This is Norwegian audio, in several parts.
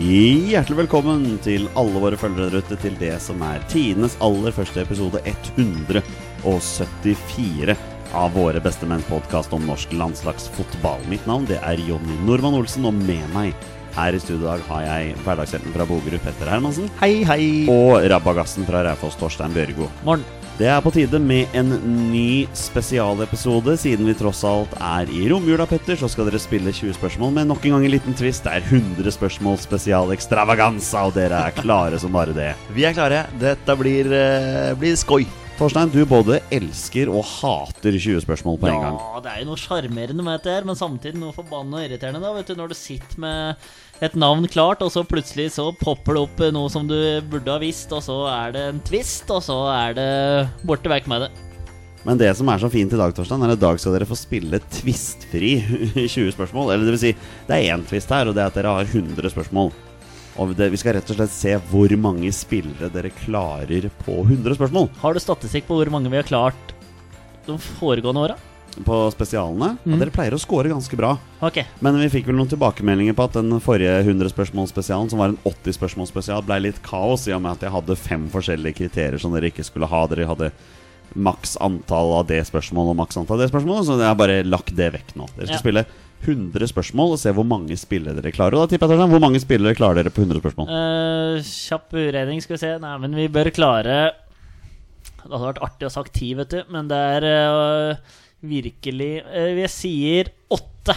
hjertelig velkommen til alle våre følgere der ute til det som er tidenes aller første episode 174 av våre Bestemenns podkast om norsk landslagsfotball. Mitt navn det er Jonny Normann Olsen, og med meg her i studio i dag har jeg hverdagshelten fra Bogerud, Petter Hermansen, Hei, hei. og rabagassen fra Raufoss, Torstein Bjørgo. Morgen. Det er på tide med en ny spesialepisode. Siden vi tross alt er i romjula, Petter, så skal dere spille 20 spørsmål med nok en gang en liten twist. Det er 100 spørsmål spesial extravaganza, og dere er klare som bare det. Vi er klare. Dette blir, eh, blir skoj. Torstein, du både elsker og hater 20 spørsmål på en gang. Ja, det er jo noe sjarmerende med dette her, men samtidig noe forbanna irriterende, da, vet du, når du sitter med et navn klart, og så plutselig så popper det opp noe som du burde ha visst, og så er det en twist, og så er det borte vekk med det. Men det som er så fint i dag, Torstein, er at i dag skal dere få spille tvistfri 20 spørsmål. Eller det vil si, det er én tvist her, og det er at dere har 100 spørsmål. Og det, vi skal rett og slett se hvor mange spillere dere klarer på 100 spørsmål. Har du statistikk på hvor mange vi har klart de foregående åra? på spesialene. Og dere pleier å score ganske bra. Ok. Men vi fikk vel noen tilbakemeldinger på at den forrige 100 spørsmål-spesialen, som var en 80 spørsmål-spesial, ble litt kaos i og med at jeg hadde fem forskjellige kriterier som dere ikke skulle ha. Dere hadde maks antall av det spørsmålet og maks antall av det spørsmålet, så jeg har bare lagt det vekk nå. Dere skal Ja. spille 100 spørsmål og se hvor mange spillere dere klarer. Og da tipper jeg Torstein, hvor mange spillere klarer dere på 100 spørsmål? Eh, kjapp uregning, skal vi se. Nei, men vi bør klare Det hadde vært artig å sagt ti, vet du, men det er eh, virkelig eh, Jeg sier åtte.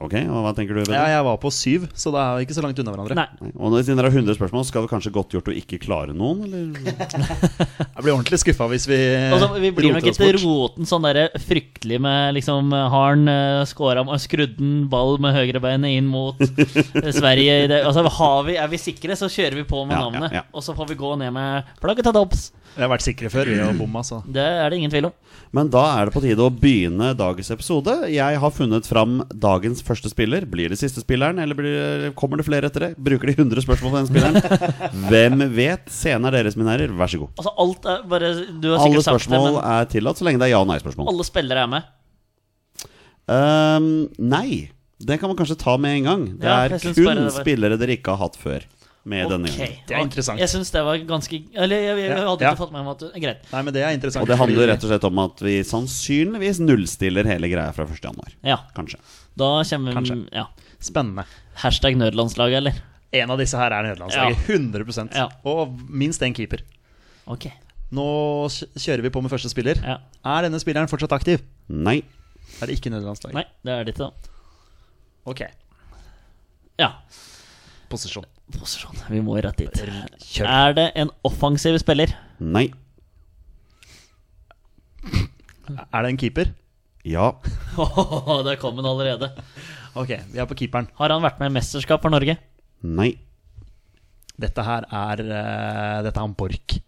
Ok, og hva tenker du? Petter? Ja, jeg var på syv, så det er jo ikke så langt unna hverandre. Nei. Nei. Og når- siden dere har 100 spørsmål, skal det kanskje godt gjort å ikke klare noen, eller? Jeg blir ordentlig skuffa hvis vi Eh, Altså, vi blir nok ikke bort. roten sånn derre fryktelig med liksom Har han uh, scora med skrudd den ball med høyrebeinet inn mot eh, Sverige i det Altså, har vi, er vi sikre, så kjører vi på med Ja, ja, navnet. ja. Og så får vi gå ned med plagget til topps. Vi har vært sikre før, vi altså. har bomma, så Det er det ingen tvil om. Men da er det på tide å begynne dagens episode. Jeg har funnet fram dagens første spiller. Blir det siste spilleren, eller blir, kommer det flere etter det? Bruker de 100 spørsmål på den spilleren? Hvem vet? Scenen er deres, mine herrer. Vær så god. Altså, alt er bare Du har Alle sikkert sagt det, spørsmål men er tillatt så lenge det er ja- og nei-spørsmål. alle spillere er med. Ehm, nei. Det kan man kanskje ta med en gang. Det Ja, er jeg syns kun bare det var- spillere dere ikke har hatt før. Med denne gangen. Ok. Det er interessant. Jeg syns det var ganske Eller jeg, jeg, jeg Ja, hadde ja. ikke fått med meg at du Greit. Nei, men det er interessant. Og det handler fordi- rett og slett om at vi sannsynligvis nullstiller hele greia fra 1. januar. Ja. Kanskje. Da kommer Kanskje. Ja. Spennende. Hashtag nødlandslaget, eller? En av disse her er nederlandslaget. 100 Ja. Og minst én keeper. Ok. Nå kj- kjører vi på med første spiller. Ja. Er denne spilleren fortsatt aktiv? Nei. Er det ikke nederlandslaget? Nei, det er det ikke, da. Ok. Ja. Posisjon. posisjon. Vi må rett dit. Kjør. Er det en offensiv spiller? Nei. Er det en keeper? Ja. der kom han allerede. Ok, vi er på keeperen. Har han vært med i mesterskap for Norge? Nei. Dette her er eh, Dette er han Borch.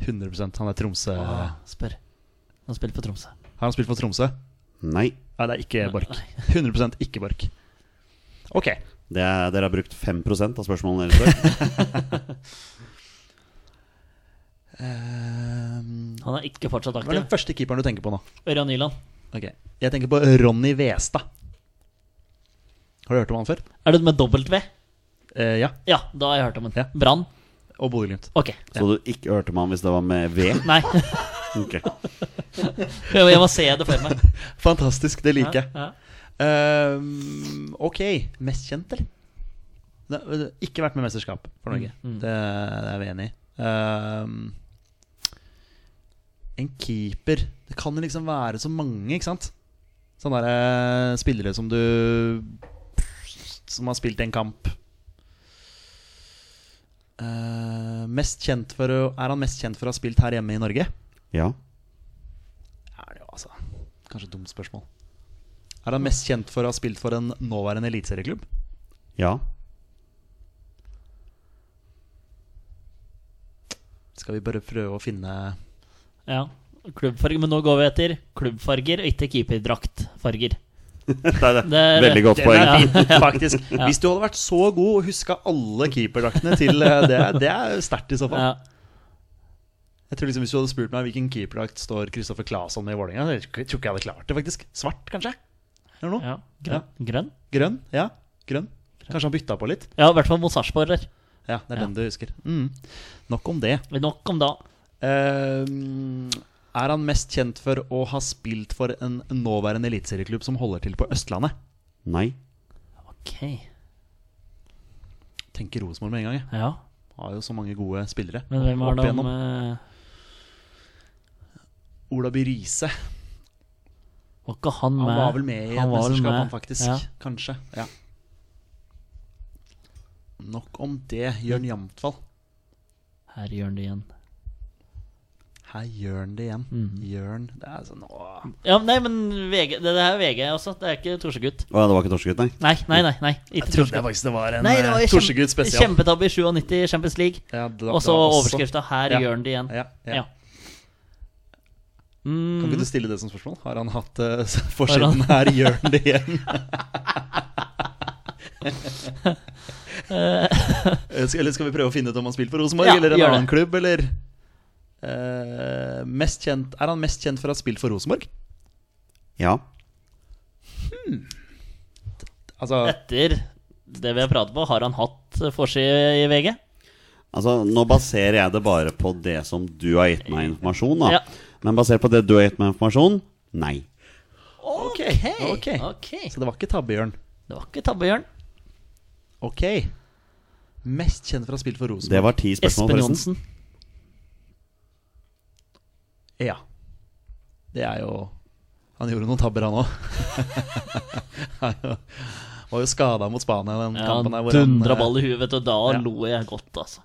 100 Han er Tromsø. Spør. Han spiller for Tromsø. Har han spilt for Tromsø? Nei. Nei, det er ikke Borch. 100 ikke Borch. Ok. Det er, dere har brukt 5 av spørsmålene deres. før. Ehm, Han er ikke fortsatt Hva er den aktiv. første keeperen du tenker på nå? Ørjan Nyland. Ok Jeg tenker på Ronny Westad. Har du hørt om han før? Er du med dobbelt V? Eh, ja. Ja, da har jeg hørt om Ja. den. Brann? Og Bodø-Glimt. Ok. Så du ikke hørte meg om hvis det var med V? Nei, Ok. jeg må se det for meg. Fantastisk, det liker jeg. Ja, ja. Ehm, ok. Mest kjent, eller? Det, det, ikke vært med i mesterskap for Norge. Det, det er vi enig i. Ehm, en keeper Det kan jo liksom være så mange, ikke sant? Sånne der, eh, spillere som du Som har spilt en kamp. Eh, mest kjent for å, er han mest kjent for å ha spilt her hjemme i Norge? Ja. er det jo altså Kanskje et dumt spørsmål. Er han mest kjent for å ha spilt for en nåværende eliteserieklubb? Ja. Skal vi bare prøve å finne Ja. Klubbfarger, men nå går vi etter klubbfarger og ikke keeperdraktfarger. Nei, det Det- er veldig godt Den er poeng. fin, faktisk. Hvis du hadde vært så god og huska alle keeperdraktene til eh, det, det er sterkt i så fall. Ja. Jeg tror liksom Hvis du hadde spurt meg hvilken keeperdrakt står Kristoffer Claesson med i Vålerenga, jeg tror ikke jeg hadde klart det, faktisk. Svart, kanskje? Eller noe? Ja. Grønn? Grønn? Grønn? Ja. Grønn. Kanskje han bytta på litt? Ja, i hvert fall mot Sarpsborg. der. Ja, det er Ja. den du husker. Mm. Nok om det. Nok om da. Eh, er han mest kjent for å ha spilt for en nåværende eliteserieklubb som holder til på Østlandet? Nei. Ok, Tenker Rosenborg med en gang. jeg. ja Har jo så mange gode spillere. Men opp hvem var det om igjennom. eh, Ola By Riise. Var ikke han med? Han var vel med i et Han var vel mesterskap, med. han faktisk. Ja. Kanskje. Ja. Nok om det. Jørn Jamtval. Her gjør han det igjen. Her gjør han det igjen. Mm. Jørn Det er sånn åh. Ja, nei, men VG, det, det her er VG også. Det er ikke Torsegutt. Å ja, det var ikke torskegutt, nei? Nei, nei, nei. nei ikke Jeg trodde Torsegutt. faktisk det var en Nei, det var jo Torsegudd kjempe, spesial. kjempetabbe i 97 i Champions League. Ja, da- Og så da også. overskrifta 'Her Ja. gjør han det igjen'. Mm, Ja, ja. Ja. Kan ikke du stille det som spørsmål? Har han hatt eh, Mhm. Har forsiden her? Gjør han det igjen? Eh, skal- eller skal vi prøve å finne ut om han spilte for Rosenborg Ja, eller en gjør annen det. klubb, eller Eh, mest kjent, Er han mest kjent for å ha spilt for Rosenborg? Ja. Altså, Etter det vi har pratet på, har han hatt eh, forside i VG? Altså, Nå baserer jeg det bare på det som du har gitt meg informasjon. da Ja. Men basert på det du har gitt meg informasjon nei. Ok. ok. så det var ikke tabbejørn. Det var ikke tabbejørn. Ok. Mest kjent for å ha spilt for Rosenborg. Det var ti spørsmål, Espen forresten. Johnsen. Ja. Det er jo Han gjorde noen tabber, han òg. var jo skada mot Spania den Ja, kampen han der. hvor han, dundra eh, ball i huet, vet du. Da ja. lo jeg godt, altså.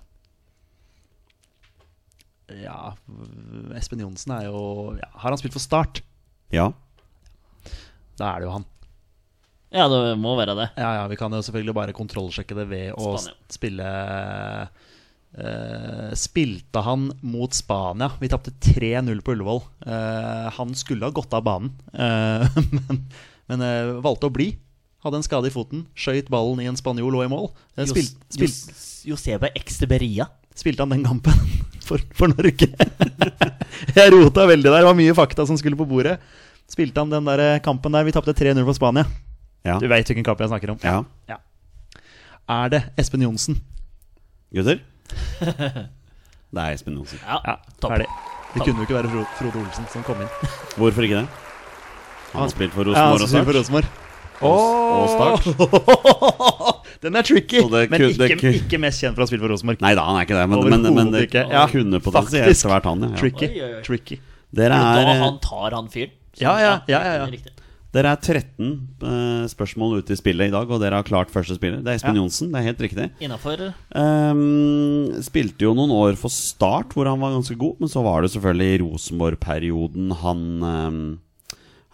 Ja, Espen Johnsen er jo ja, Har han spilt for Start? Ja. Da er det jo han. Ja, det må være det. Ja, ja, Vi kan jo selvfølgelig bare kontrollsjekke det ved å Spania. s- spille eh, Spilte han mot Spania? Vi tapte 3-0 på Ullevål. Eh, han skulle ha gått av banen, eh, men, men eh, valgte å bli. Hadde en skade i foten, skjøt ballen i en spanjol og i mål. Eh, spil, spil, Jos- Josebe Exteberia. spilte han den kampen for, for Norge? Jeg rota veldig der. Det var mye fakta som skulle på bordet. Spilte han den der eh, kampen der vi tapte 3-0 for Spania? Ja. Du veit hvilken kamp jeg snakker om. ja. Er det Espen Johnsen? Gutter? Det er Espen Johnsen. Ja, Ja, topp. ferdig. Det kunne jo ikke være Fro- Frode Olsen som kom inn. Hvorfor ikke det? Han Han- har spilt for Ja, han Rosenborg og spiller for Start. Rosenborg. Og Start. Den er tricky, Så det men kunne- det ikke, kunne- ikke mest kjent for å ha spilt for Rosenborg. Nei da, han er ikke det, men, men, men det Overhodet ikke. Ja, kunne potensielt faktisk. vært han, ja. Tricky. Oi, oi, oi. tricky. Dere Men da er, eh, han tar han fyren. Så- Ja, ja, ja, ja, ja. riktig. dere er 13 eh, spørsmål ute i spillet i dag, og dere har klart første spiller. Det er Espen Ja. Johnsen, det er helt riktig. Innafor Ehm, spilte jo noen år for Start, hvor han var ganske god, men så var det selvfølgelig i Rosenborg-perioden han, ehm,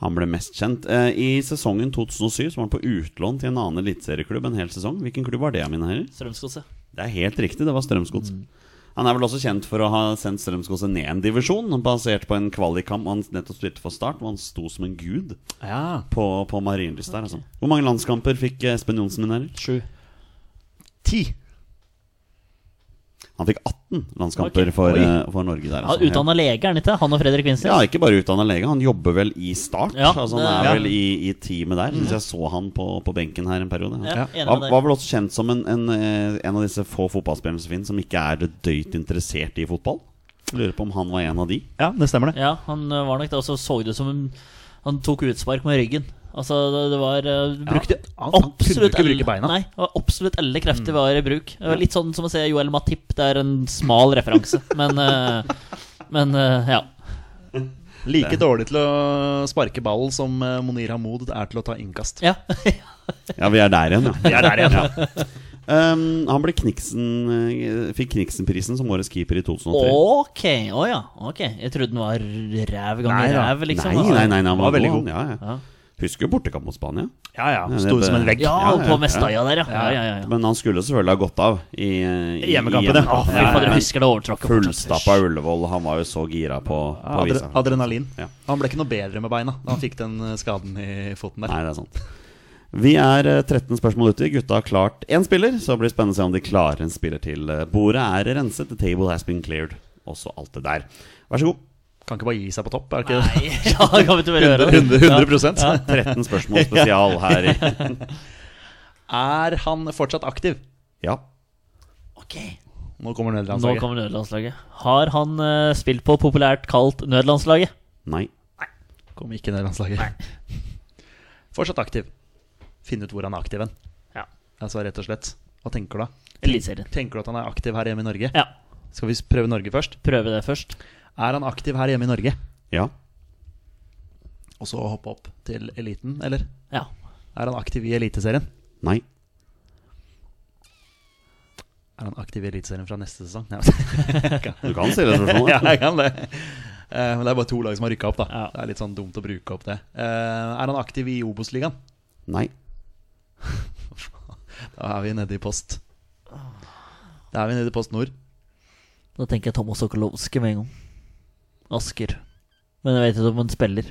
han ble mest kjent. Eh, I sesongen 2007 så var han på utlån til en annen eliteserieklubb en hel sesong. Hvilken klubb var det, mine herrer? Strømsgodset. Det er helt riktig, det var Strømsgods. Mm. Han er vel også kjent for å ha sendt Strømsgodset ned en divisjon, basert på en kvalikkamp han nettopp spilte for Start, hvor han sto som en gud Ja. på, på Marienlyst der, altså. Hvor mange landskamper fikk eh, Espen Johnsen, mine herrer? Sju. Ti. Han fikk 18 landskamper Ok. for, Oi. eh, for Norge der. Ja, sånn, altså. Utdanna lege, er han ikke? Han og Fredrik Winsnes. Ja, ikke bare utdanna lege. Han jobber vel i Start. Ja, altså, det- Mm. han er Ja. vel i, i teamet der. Syns jeg så han på, på benken her en periode. Ja, enig med Var, deg. var vel også kjent som en, en, eh, en av disse få fotballspillerne som finnes, som ikke er det døyt interessert i fotball. Lurer på om han var en av de. Ja, det stemmer det. Ja, han ø, var nok det. Og så så det som en, han tok utspark med ryggen. Altså, det, det var ø, Brukte han- han kunne absolutt ikke bruke alle- beina. Mm. Nei, det var absolutt alle krefter var i bruk. Det var litt sånn som å se Joel Matip. Det er en smal referanse, men ø, Men ø, ja. Like dårlig til å sparke ballen som eh, Monir Hamoud er til å ta innkast. ja. Ja, vi er der igjen, ja. Vi er der igjen. Um, han ble Kniksen, eh, fikk Kniksen-prisen som årets keeper i 2003. Ok, å ja. Ok. Jeg trodde den var ræv ganger Nei da. ræv, liksom. nei, nei, nei, nei, han var var, veldig god. han. Ja, ja. Ja. Husker jo bortekamp mot Spania. Ja, ja. det Sto bør- som en vegg. Ja, Ja, ja, ja. på Mestøya der, ja. ja, ja, ja, ja. Men han skulle selvfølgelig ha gått av i, eh, i i Hjemmekampen, ja. hjemmekampen. Fy fader, Men- jeg husker det overtråkket. Fullstappa Ullevål. Han var jo så gira på, på Adre visa. adrenalin. Ja. Han ble ikke noe bedre med beina da han fikk den eh, skaden i foten der. Nei, det er sant. Vi er eh, 13 spørsmål ute. Gutta har klart én spiller. Så blir det spennende å se om de klarer en spiller til. Eh, Bordet er renset. The table has been cleared. Også alt det der. Vær så god. Kan ikke bare gi seg på topp, er det ikke det? Nei, ja, det kan vi ikke bare gjøre. 100, 100 13 spørsmål spesial her. i Er han fortsatt aktiv? Ja. Ok, Nå kommer Nå nederlandslaget. kommer nødlandslaget. Har han eh, spilt på populært kalt nødlandslaget? Nei. Kom ikke nederlandslaget. Fortsatt aktiv. Finn ut hvor han er aktiv hen. Ja. Altså rett og slett. Hva tenker du da? Eliteserien. Tenker du at han er aktiv her hjemme i Norge? Ja. Skal vi s- prøve Norge først? Prøve det først. Er han aktiv her hjemme i Norge? Ja. Og så hoppe opp til eliten, eller? Ja. Er han aktiv i Eliteserien? Nei. Er han aktiv i Eliteserien fra neste sesong? Nei, Du kan stille spørsmålet. ja, jeg kan det. Eh, Men det er bare to lag som har rykka opp, da. Ja. Det er litt sånn dumt å bruke opp det. Eh, Er han aktiv i Obos-ligaen? Nei. Da er vi nede i post. Da er vi nede i Post Nord. Da tenker jeg Thomas Sokolowski med en gang. Asker. Men jeg vet ikke om han spiller.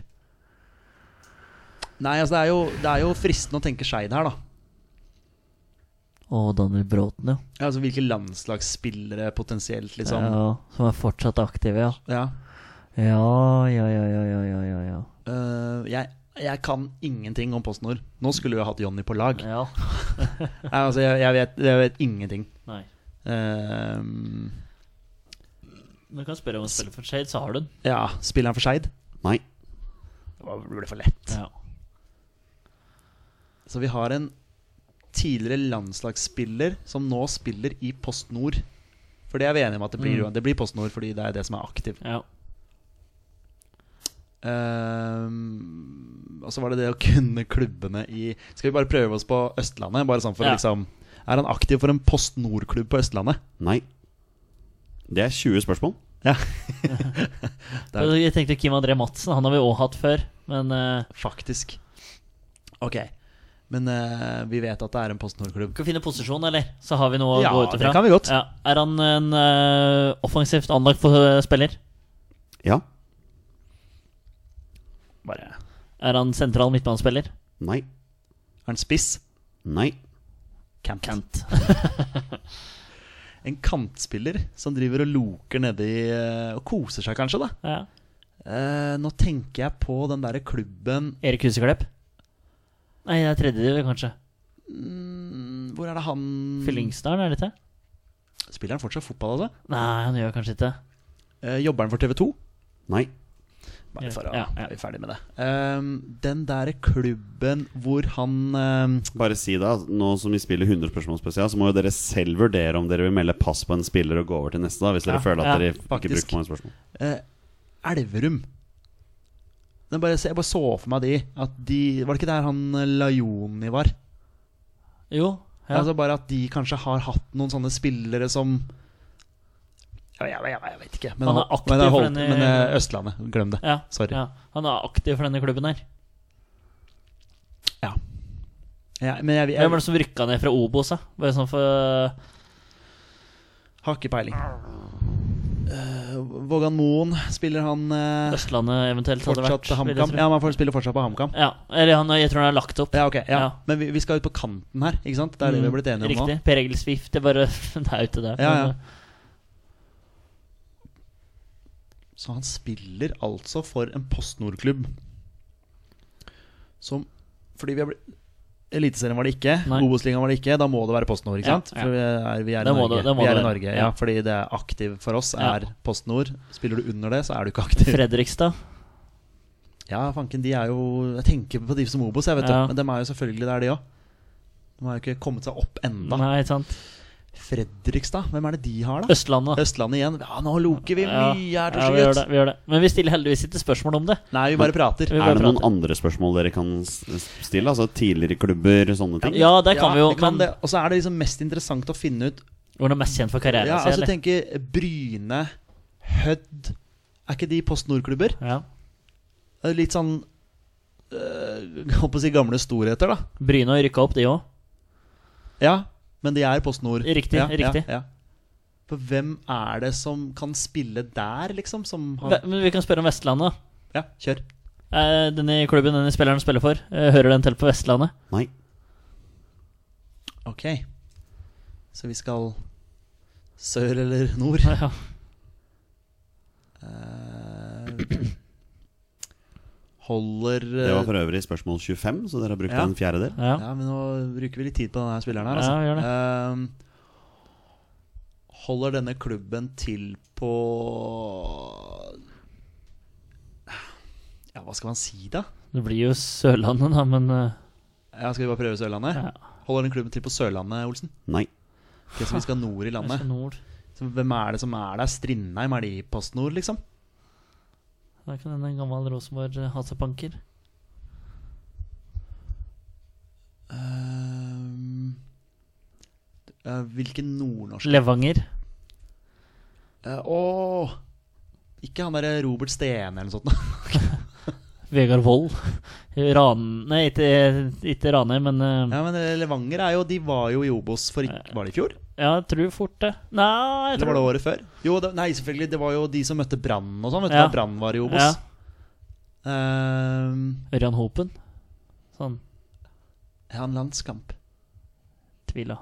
Nei, altså det er jo, det er jo fristende å tenke Skeid her, da. Og Daniel Bråten, ja. Ja, Altså Hvilke landslagsspillere potensielt, sånn. liksom. ja. Som er fortsatt aktive, ja. Ja. Ja, ja, ja, ja, ja, ja, ja, ja. Eh, jeg, jeg kan ingenting om Post Nord. Nå skulle vi ha hatt Jonny på lag. ja. Nei, altså, jeg, jeg, vet, jeg vet ingenting. Nei. Eh, Du kan spørre om han spiller for Shade, så har du den. ja, spiller han for Skeid? Nei. Det var- ble for lett. Ja. Så vi har en tidligere landslagsspiller som nå spiller i Post Nord. For det er vi enige om at det blir, Mm. det blir Post Nord, fordi det er det som er aktiv. ja. Ehm, og så var det det å kunne klubbene i Skal vi bare prøve oss på Østlandet? Bare sånn for å Ja. liksom Er han aktiv for en Post Nord-klubb på Østlandet? Nei. Det er 20 spørsmål. Det er- Jeg tenkte Kim André Madsen, han har vi òg hatt før. Men eh, Faktisk. Ok. Men eh, vi vet at det er en Post Nord-klubb. Skal vi finne posisjon, eller? Så har vi noe Ja, å gå ut ifra. det kan vi godt. Ja. Er han en eh, offensivt anlagt for, eh, spiller? Ja. Bare Er han sentral midtbanespiller? Nei. Er han spiss? Nei. Kant. Kent. En kantspiller som driver og loker nedi eh, og koser seg, kanskje, da. Ja. Eh, nå tenker jeg på den derre klubben Erik Huseklepp? Nei, det er tredje div, kanskje. mm, Hvor er det han Fyllingsdalen, er det ikke? Spiller han fortsatt fotball, altså? Nei, han gjør kanskje ikke det. Eh, jobber han for TV2? Nei. Bare for å Ja, ja. er vi ferdig med det. Ehm, den derre klubben hvor han ehm, Bare si det, at nå som vi spiller 100 spørsmål spesielt, så må jo dere selv vurdere om dere vil melde pass på en spiller og gå over til neste, da, hvis dere Ja, føler at ja, dere ikke faktisk. bruker mange spørsmål. eh, Elverum den bare, Jeg bare så for meg de, at de Var det ikke der han eh, Lajoni var? Jo. Ja. Altså Bare at de kanskje har hatt noen sånne spillere som jeg, jeg, jeg, jeg vet ikke. Men, Han er aktiv men, det for holdt, denne- men eh, Østlandet. Glem det. ja. Sorry. Ja. Han er aktiv for denne klubben her. Ja. Ja, men jeg, jeg, Hvem var det som rykka ned fra Obos, da? Bare sånn for har ikke peiling. Eh, Vågan Moen, spiller han eh, Østlandet eventuelt? hadde vært, fortsatt til vil jeg HamKam? tro. Ja, men han spiller fortsatt på HamKam. ja. Eller han, jeg tror han er lagt opp. Ja, ok. Ja. Ja. Mm, Men vi, vi skal ut på kanten her, ikke sant? Det er det vi har blitt enige om Riktig. Per Egil Swift, det er bare Det er jo ikke det. Ja, ja. men- nå. Så han spiller altså for en Post Nord-klubb som Fordi vi har blitt Eliteserien var det ikke, Nei. Obos-ligaen var det ikke. Da må det være Post Nord, ikke Ja, sant? ja. For vi er, vi er i Da må Norge. det- da må vi er det i være. Norge. Ja, Ja. fordi det er aktiv for oss Ja. er Post Nord. Spiller du under det, så er du ikke aktiv. eh, Fredrikstad. Ja, fanken, de er jo Jeg tenker på de som Obos, jeg, vet du. Ja. Men dem er jo selvfølgelig der, de òg. De har jo ikke kommet seg opp enda. Nei, ikke sant. Fredrikstad, hvem er det de har, da? Østlandet. Østlandet igjen. Ja, nå loker vi Ja, mye her, ja, vi gjør, Torsegutt. det, vi gjør det. Men vi stiller heldigvis ikke spørsmål om det. Nei, vi bare prater. Vi Er bare det noen prater. andre spørsmål dere kan s- stille? Altså tidligere klubber, sånne ting? Ja, der kan vi jo. vi kan men det. Og så er det liksom mest interessant å finne ut hvor er han mest kjent for karrieren Ja, sin? altså eller? tenke Bryne, Hødd Er ikke de Post Nord-klubber? ja. Det er Litt sånn øh, Holdt på å si gamle storheter, da. Bryne har rykka opp, de òg. Ja, men de er Post Nord. Riktig, ja, riktig. Ja, ja. For hvem er det som kan spille der, liksom? Som har Men vi kan spørre om Vestlandet. da. Ja, kjør. Eh, Denne klubben denne spilleren spiller for, eh, hører den til på Vestlandet? Nei. Ok. Så vi skal sør eller nord? Ja. Eh, holder eh, Det var for øvrig spørsmål 25, så dere har brukt Ja. en fjerdedel. Ja. Ja, men nå bruker vi litt tid på denne spilleren her. Ja, Altså. vi gjør det. Ehm, holder denne klubben til på Ja, hva skal man si, da? Det blir jo Sørlandet, da, men eh, Ja, skal vi bare prøve Sørlandet? Ja. Holder den klubben til på Sørlandet, Olsen? Nei. Ikke som vi skal nord i kanskje landet. nord. Så hvem er det som er der? Strindheim? Er de i PostNord, liksom? Da kan hende en gammel eh, Rosenborg-hasepanker. Ehm, eh, hvilken nordnorsk Levanger. Eh, Åh! Ikke han derre Robert Stene eller noe sånt? da. Vegard Wold. Ran... Nei, ikke, ikke Ranheim, men eh, Ja, men eh, Levanger er jo De var jo i Obos for ikke Var det i fjor? ja, Eh, jeg tror fort det. Nei, jeg Eller var tror det året før? Jo, det, nei, selvfølgelig. Det var jo de som møtte Brann og sånn. Vet du Ja. hva Brann var i Obos? Ja. Ehm, Ørjan Hopen. Sånn. ja, en landskamp. Tvila.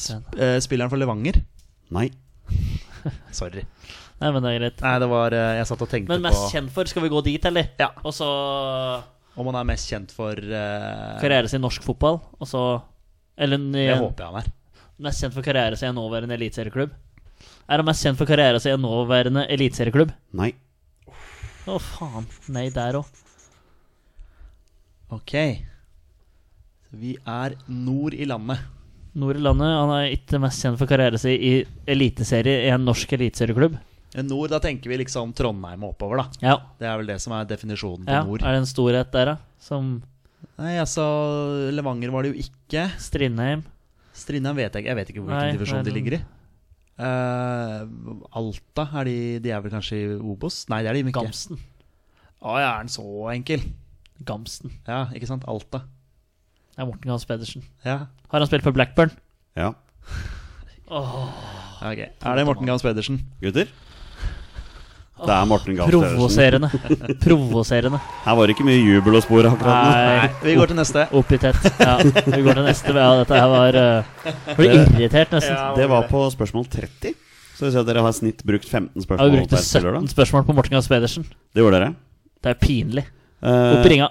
Sp Eh, spilleren for Levanger? Nei. Sorry. Nei, men det er greit. Nei, det var eh, Jeg satt og tenkte Men mest på kjent for, skal vi gå dit, eller? Ja. Og så om han er mest kjent for eh, karriere sin i norsk fotball, og så Eller en, Det håper jeg han er. mest kjent for karriere sin i en nåværende eliteserieklubb. Er han mest kjent for karriere sin i en nåværende eliteserieklubb? Nei. Å, faen. Nei, der òg. Ok. Så vi er nord i landet. Nord i landet. Han er ikke mest kjent for karriere sin i eliteserie i en norsk eliteserieklubb. Eh, Nord, da tenker vi liksom Trondheim og oppover, da. Ja. Det er vel det som er definisjonen på ja. nord. Er det en storhet der, da? Som Nei, altså Levanger var det jo ikke. Strindheim? Strindheim vet jeg ikke. Jeg vet ikke hvilken Nei, divisjon nei, de den- ligger i. Eh, Alta er de De er vel kanskje i Obos? Nei, det er de ikke. Gamsten. Å ja, er den så enkel? Gamsten. Ja, ikke sant? Alta. Det er Morten Gams Pedersen. Ja, Har han spilt for Blackburn? Ja. ok. Er det Morten Gams Pedersen? Gutter? Det er Morten Gahr Størrelsen. Provoserende. Provoserende. Her var det ikke mye jubel å spore akkurat nå. Nei, Vi går til neste. opp i tett. Ja, vi går til neste. Ja, dette her var uh, Ble irritert, nesten. Det var på spørsmål 30. Så vil si at dere har i snitt brukt 15 Ja, vi spørsmål brukte per spiller, 17 da. spørsmål på Morten Gams Pedersen. Det gjorde dere. Det er pinlig. Opp i Eh, ringa.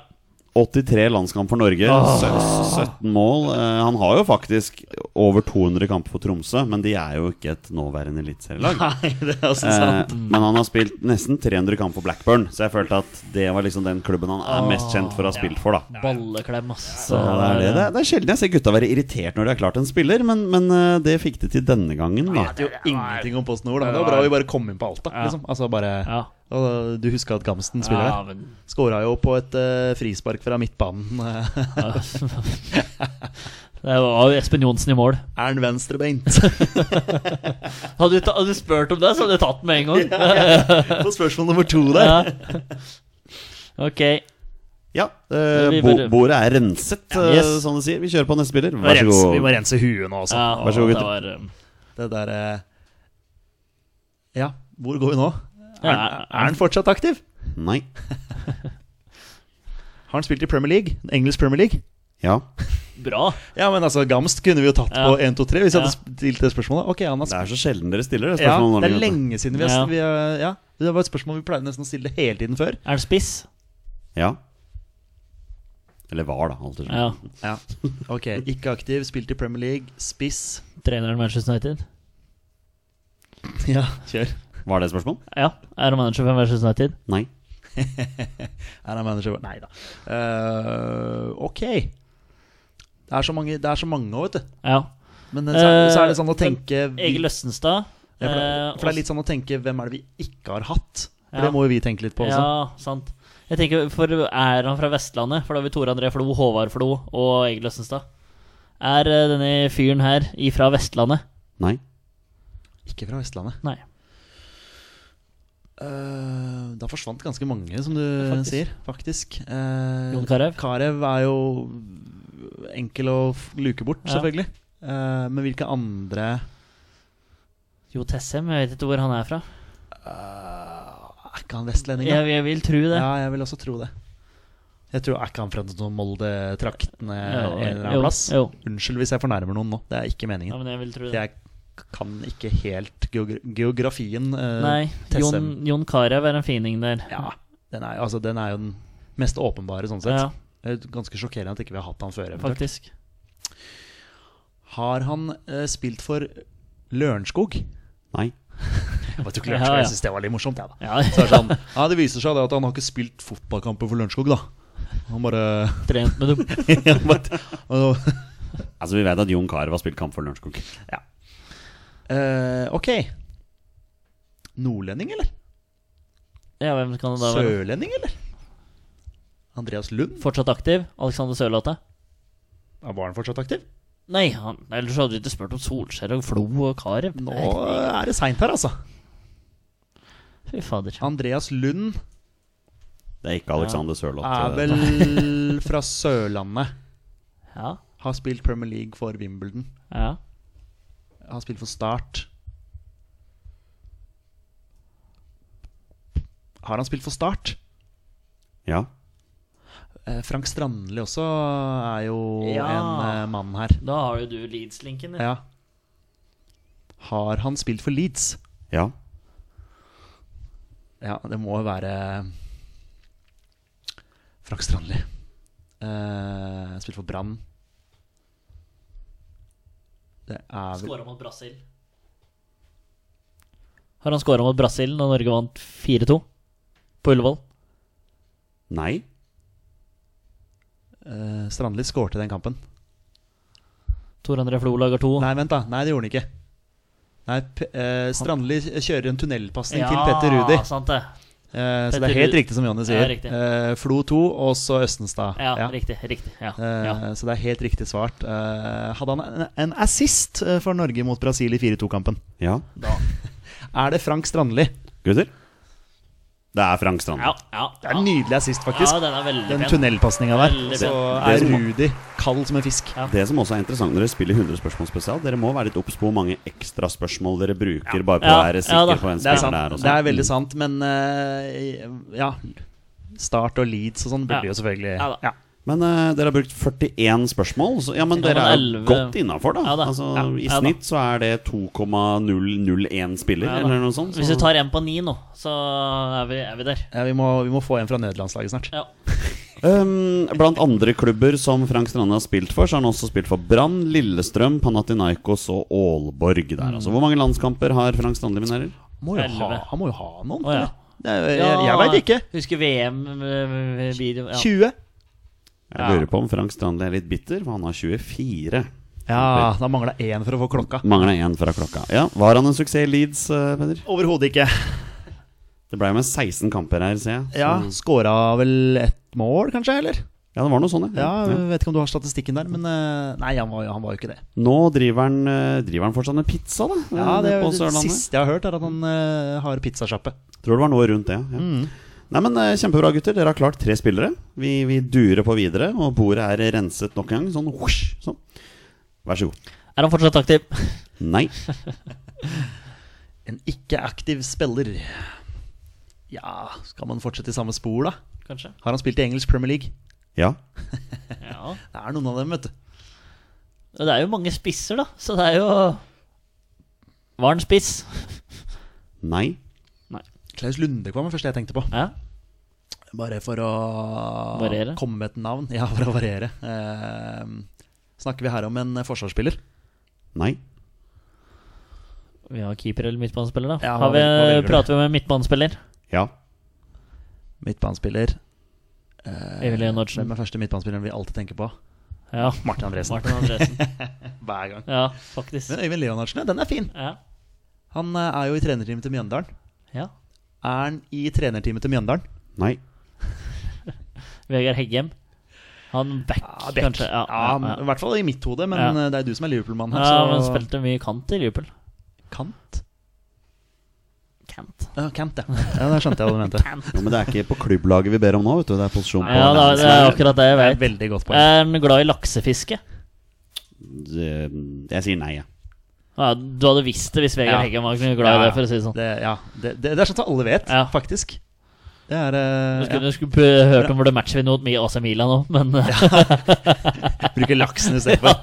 83 landskamp for Norge, Ah. Åh. sø- 17 mål. Eh, han har jo faktisk over 200 kamper for Tromsø, men de er jo ikke et nåværende eliteserielag. Nei, det er også Eh, sant. men han har spilt nesten 300 kamper for Blackburn, så jeg følte at det var liksom den klubben han er mest kjent for å ha spilt for, da. Balleklem, ass. Så det er, det. Det, er, det er sjelden jeg ser gutta være irritert når de har klart en spiller, men, men eh, det fikk de til denne gangen, da. Vet jo ingenting om Post Nord. da. Det var bra vi bare kom inn på Alta. Liksom. Altså bare Ja. Og Du huska at Gamsten spiller ja, der? men Skåra jo på et eh, frispark fra midtbanen. ja. Det var jo Espen Johnsen i mål. er han venstrebeint? Hadde du, ta, hadde du spurt om det, så hadde du tatt den med en gang. på spørsmål nummer to der. Ja. Ok. Ja, eh, Vi bo, bare- bordet er renset, eh, Yes. som de sier. Vi kjører på neste spiller. Vi må Vær så rense, vi må god. rense huet nå, altså. Ja, Vær så god, det gutter. var, um, Det der eh, Ja, hvor går vi nå? Er, Ja. er han fortsatt aktiv? Nei. Har han spilt i Premier League? Engelsk Premier League? Ja. Bra. Ja, men altså, Gamst kunne vi jo tatt Ja. på 1, 2, 3 hvis jeg Ja. hadde stilt det spørsmålet. Ok, han har Det spilt er så sjelden dere stiller det ja, spørsmålet. om Det er Norge, vet du. lenge siden vi har Ja. vi har- ja. Det var et spørsmål vi pleide nesten å stille hele tiden før. Er det spiss? Ja. Eller var, da. Alt er sånn. Ja. Ja, ok Ikke aktiv, spilt i Premier League, spiss. Treneren Manchester United? Ja, kjør. Var det et spørsmål? Ja. Er han manager for Manchester United? Nei. Er han manager? Nei da. Eh, ok. Det er så mange, det er så mange også, vet du. Ja. Men eh, så er, Eh, så er det sånn å men tenke Egil Østenstad. ja, for, det, for det er litt sånn å tenke hvem er det vi ikke har hatt? For Ja. Det må jo vi tenke litt på også. Ja, sant. Jeg tenker, for Er han fra Vestlandet? For da har vi Tore André Flo, Håvard Flo og Egil Østenstad. Er eh, denne fyren her ifra Vestlandet? Nei. Ikke fra Vestlandet. Nei. Eh, da forsvant ganske mange, som du Faktisk. sier, faktisk. Eh, Jon Carew? Carew er jo enkel å f- luke bort, Ja. selvfølgelig. Eh, men hvilke andre Jo Tessem, jeg vet ikke hvor han er fra. Eh, Er ikke han vestlending, da? Jeg, jeg vil tro det. Ja, jeg vil også tro det. Jeg tror Er ikke han fra noen Molde-traktene en Jo, eller jo, annen plass? Jo. Unnskyld hvis jeg fornærmer noen nå, det er ikke meningen. Ja, men jeg vil tro Det det. er kan ikke helt geogra- geografien. eh, Nei, Tessem. Jon, Jon Carew er en fining der. Ja, den er, altså, den er jo den mest åpenbare, sånn sett. Ja, Det er Ganske sjokkerende at ikke vi har hatt han før. eventuelt. faktisk. Har han eh, spilt for Lørenskog? Nei. Jeg vet jo ikke Ja, Lørenskog, ja. jeg synes det var litt morsomt. Jeg, da. Ja, Så er det sånn, ja, det viser seg det at han har ikke spilt fotballkamper for Lørenskog, da. Han bare, trent med dem. han bare og, Altså Vi vet at Jon Carew har spilt kamp for Lørenskog. eh, Ok. Nordlending, eller? Ja, hvem kan det da være? Sørlending, eller? Andreas Lund? Fortsatt aktiv? Alexander Sørlåte? Ja, Var han fortsatt aktiv? Nei, han, ellers hadde vi ikke spurt om Solskjær og Flo og Carew. Nå Nei, er det seint her, altså. Fy fader. Andreas Lund Det er ikke Alexander Sørloth. eh, er vel fra Sørlandet. Ja, Har spilt Premier League for Wimbledon. ja. Har spilt for Start. Har han spilt for Start? Ja. Eh, Frank Strandli også er jo Ja. en eh, mann her. Da har jo du Leeds-linken. Ja. Har han spilt for Leeds? ja. Ja, det må jo være Frank Strandli. Eh, spilt for Brann. Det er vel Skåra mot Brasil. Har han skåra mot Brasil da Norge vant 4-2 på Ullevål? Nei. eh, Strandli skårte den kampen. Tor André Flo lager to. Nei, vent, da. Nei, det gjorde han ikke. Nei, P eh, Strandli kjører en tunnelpasning ja, til Petter Rudi. sant det. Eh, så det Petter er helt Rudi. riktig som Jonny Ja, sier. riktig. eh, Flo 2 og så Østenstad. Ja, Ja. riktig. riktig ja, Eh, ja. Så det er helt riktig svart. Eh, hadde han en, en assist eh, for Norge mot Brasil i 4-2-kampen? Ja. Er det Frank Strandli? Gutter? Det er Frank Strand. ja, ja, Det er ja. en nydelig assist, faktisk. Ja, den er veldig den pen. tunnelpasninga der. Veldig Så pen. er Rudi kald som en fisk. Ja. Det som også er interessant når dere spiller 100 spørsmål spesial, dere må være litt obs på hvor mange ekstraspørsmål dere bruker, bare på å Ja, være ja sikker da. på en Det spiller er, sant. der. og det sånn. er veldig Mm. sant, men eh, ja Start og Leeds og sånn burde jo Ja. selvfølgelig Ja da. ja. Men eh, dere har brukt 41 spørsmål, så ja, men dere Ja, men er jo 11 godt innafor, da. Ja da, Altså, ja, I ja da. snitt så er det 2,001 spiller, Ja da. eller noe sånt. Hvis Så. vi tar en på ni nå, så er vi, er vi der. Ja, vi, må, vi må få en fra nødlandslaget snart. Ja. Um, blant andre klubber som Frank Strande har spilt for, så har han også spilt for Brann, Lillestrøm, Panathinaikos og Aalborg der. Altså, hvor mange landskamper har Frank Strande minerer? Må jo ha, Elleve. han må jo ha noen. Å, ja. eller? Det er, jeg Eh, jeg veit ikke. Husker VM eh, video, ja. 20? Jeg lurer på om Frank Strande er litt bitter, for han har 24. Ja, da mangla én for å få klokka. Mangla én fra klokka. Ja, Var han en suksess i Leeds, eh, Peder? Overhodet ikke. Det ble med 16 kamper her, ser jeg. Så- Ja, Mm. Skåra vel ett mål, kanskje? eller? ja, det var noe Mm. sånt, Ja, jeg Vet ikke om du har statistikken der, men eh, nei, han var, jo- han var jo ikke det. Nå driver han, eh, driver han fortsatt med pizza, da. Ja, Det, er på jo det Sørlandet. siste jeg har hørt, er at han eh, har pizzasjappe. Tror det var noe rundt det, ja. Mm. Nei, men eh, Kjempebra, gutter. Dere har klart tre spillere. Vi, vi durer på videre, og bordet er renset nok en gang. Sånn, whoosh, sånn. Vær så god. Er han fortsatt aktiv? Nei. En ikke-aktiv spiller. Ja, skal man fortsette i samme spor, da? Kanskje. Har han spilt i engelsk Premier League? Ja. Ja. Det er noen av dem, vet du. Det er jo mange spisser, da, så det er jo Var han spiss? Nei. Klaus Lundekvam var det første jeg tenkte på. Ja. Bare for å Variere? komme med et navn. Ja, for å variere. Eh, snakker vi her om en eh, forsvarsspiller? Nei. Vi har keeper eller midtbanespiller, da. Ja, har vi, hva vel- hva velger du? prater vi med midtbanespiller? Ja. Midtbanespiller. Eh, Emil Hvem Leonardsen. er første midtbanespilleren vi alltid tenker på? Ja. Martin Andresen. Martin Andresen. Hver gang. Ja, faktisk. Men Øyvind Leonardsen, ja, den er fin. Ja. Han eh, er jo i trenerteamet til Mjøndalen. ja. Er han i trenerteamet til Mjøndalen? Nei. Vegard Heggem. Han back, kanskje. Ja, Ah, Ja, ja, ja. I hvert fall i mitt hode, men Ja. eh, det er du som er Liverpool-mann her. ja men så spilte mye kant i Liverpool. Kant? Kant. Ja, Kant, ja. ja. Da skjønte jeg hva du mente. Kant. Jo, men det er ikke på klubblaget vi ber om nå, vet du. Det er posisjon på Ja, da, det er akkurat det jeg Det er et vet. veldig godt poeng. Er han glad i laksefiske? Det- Eh, Jeg sier nei, jeg. Ja, du hadde visst det hvis Ja. Vegard Heggem var glad i det, for å si det sånn. Det, ja, det, det, det er sånt som alle vet, Ja. faktisk. Det er eh, Du skulle, du skulle p- hørt om hvor det matcher vi nå med AC Milan nå, men ja, Bruker laksen istedenfor.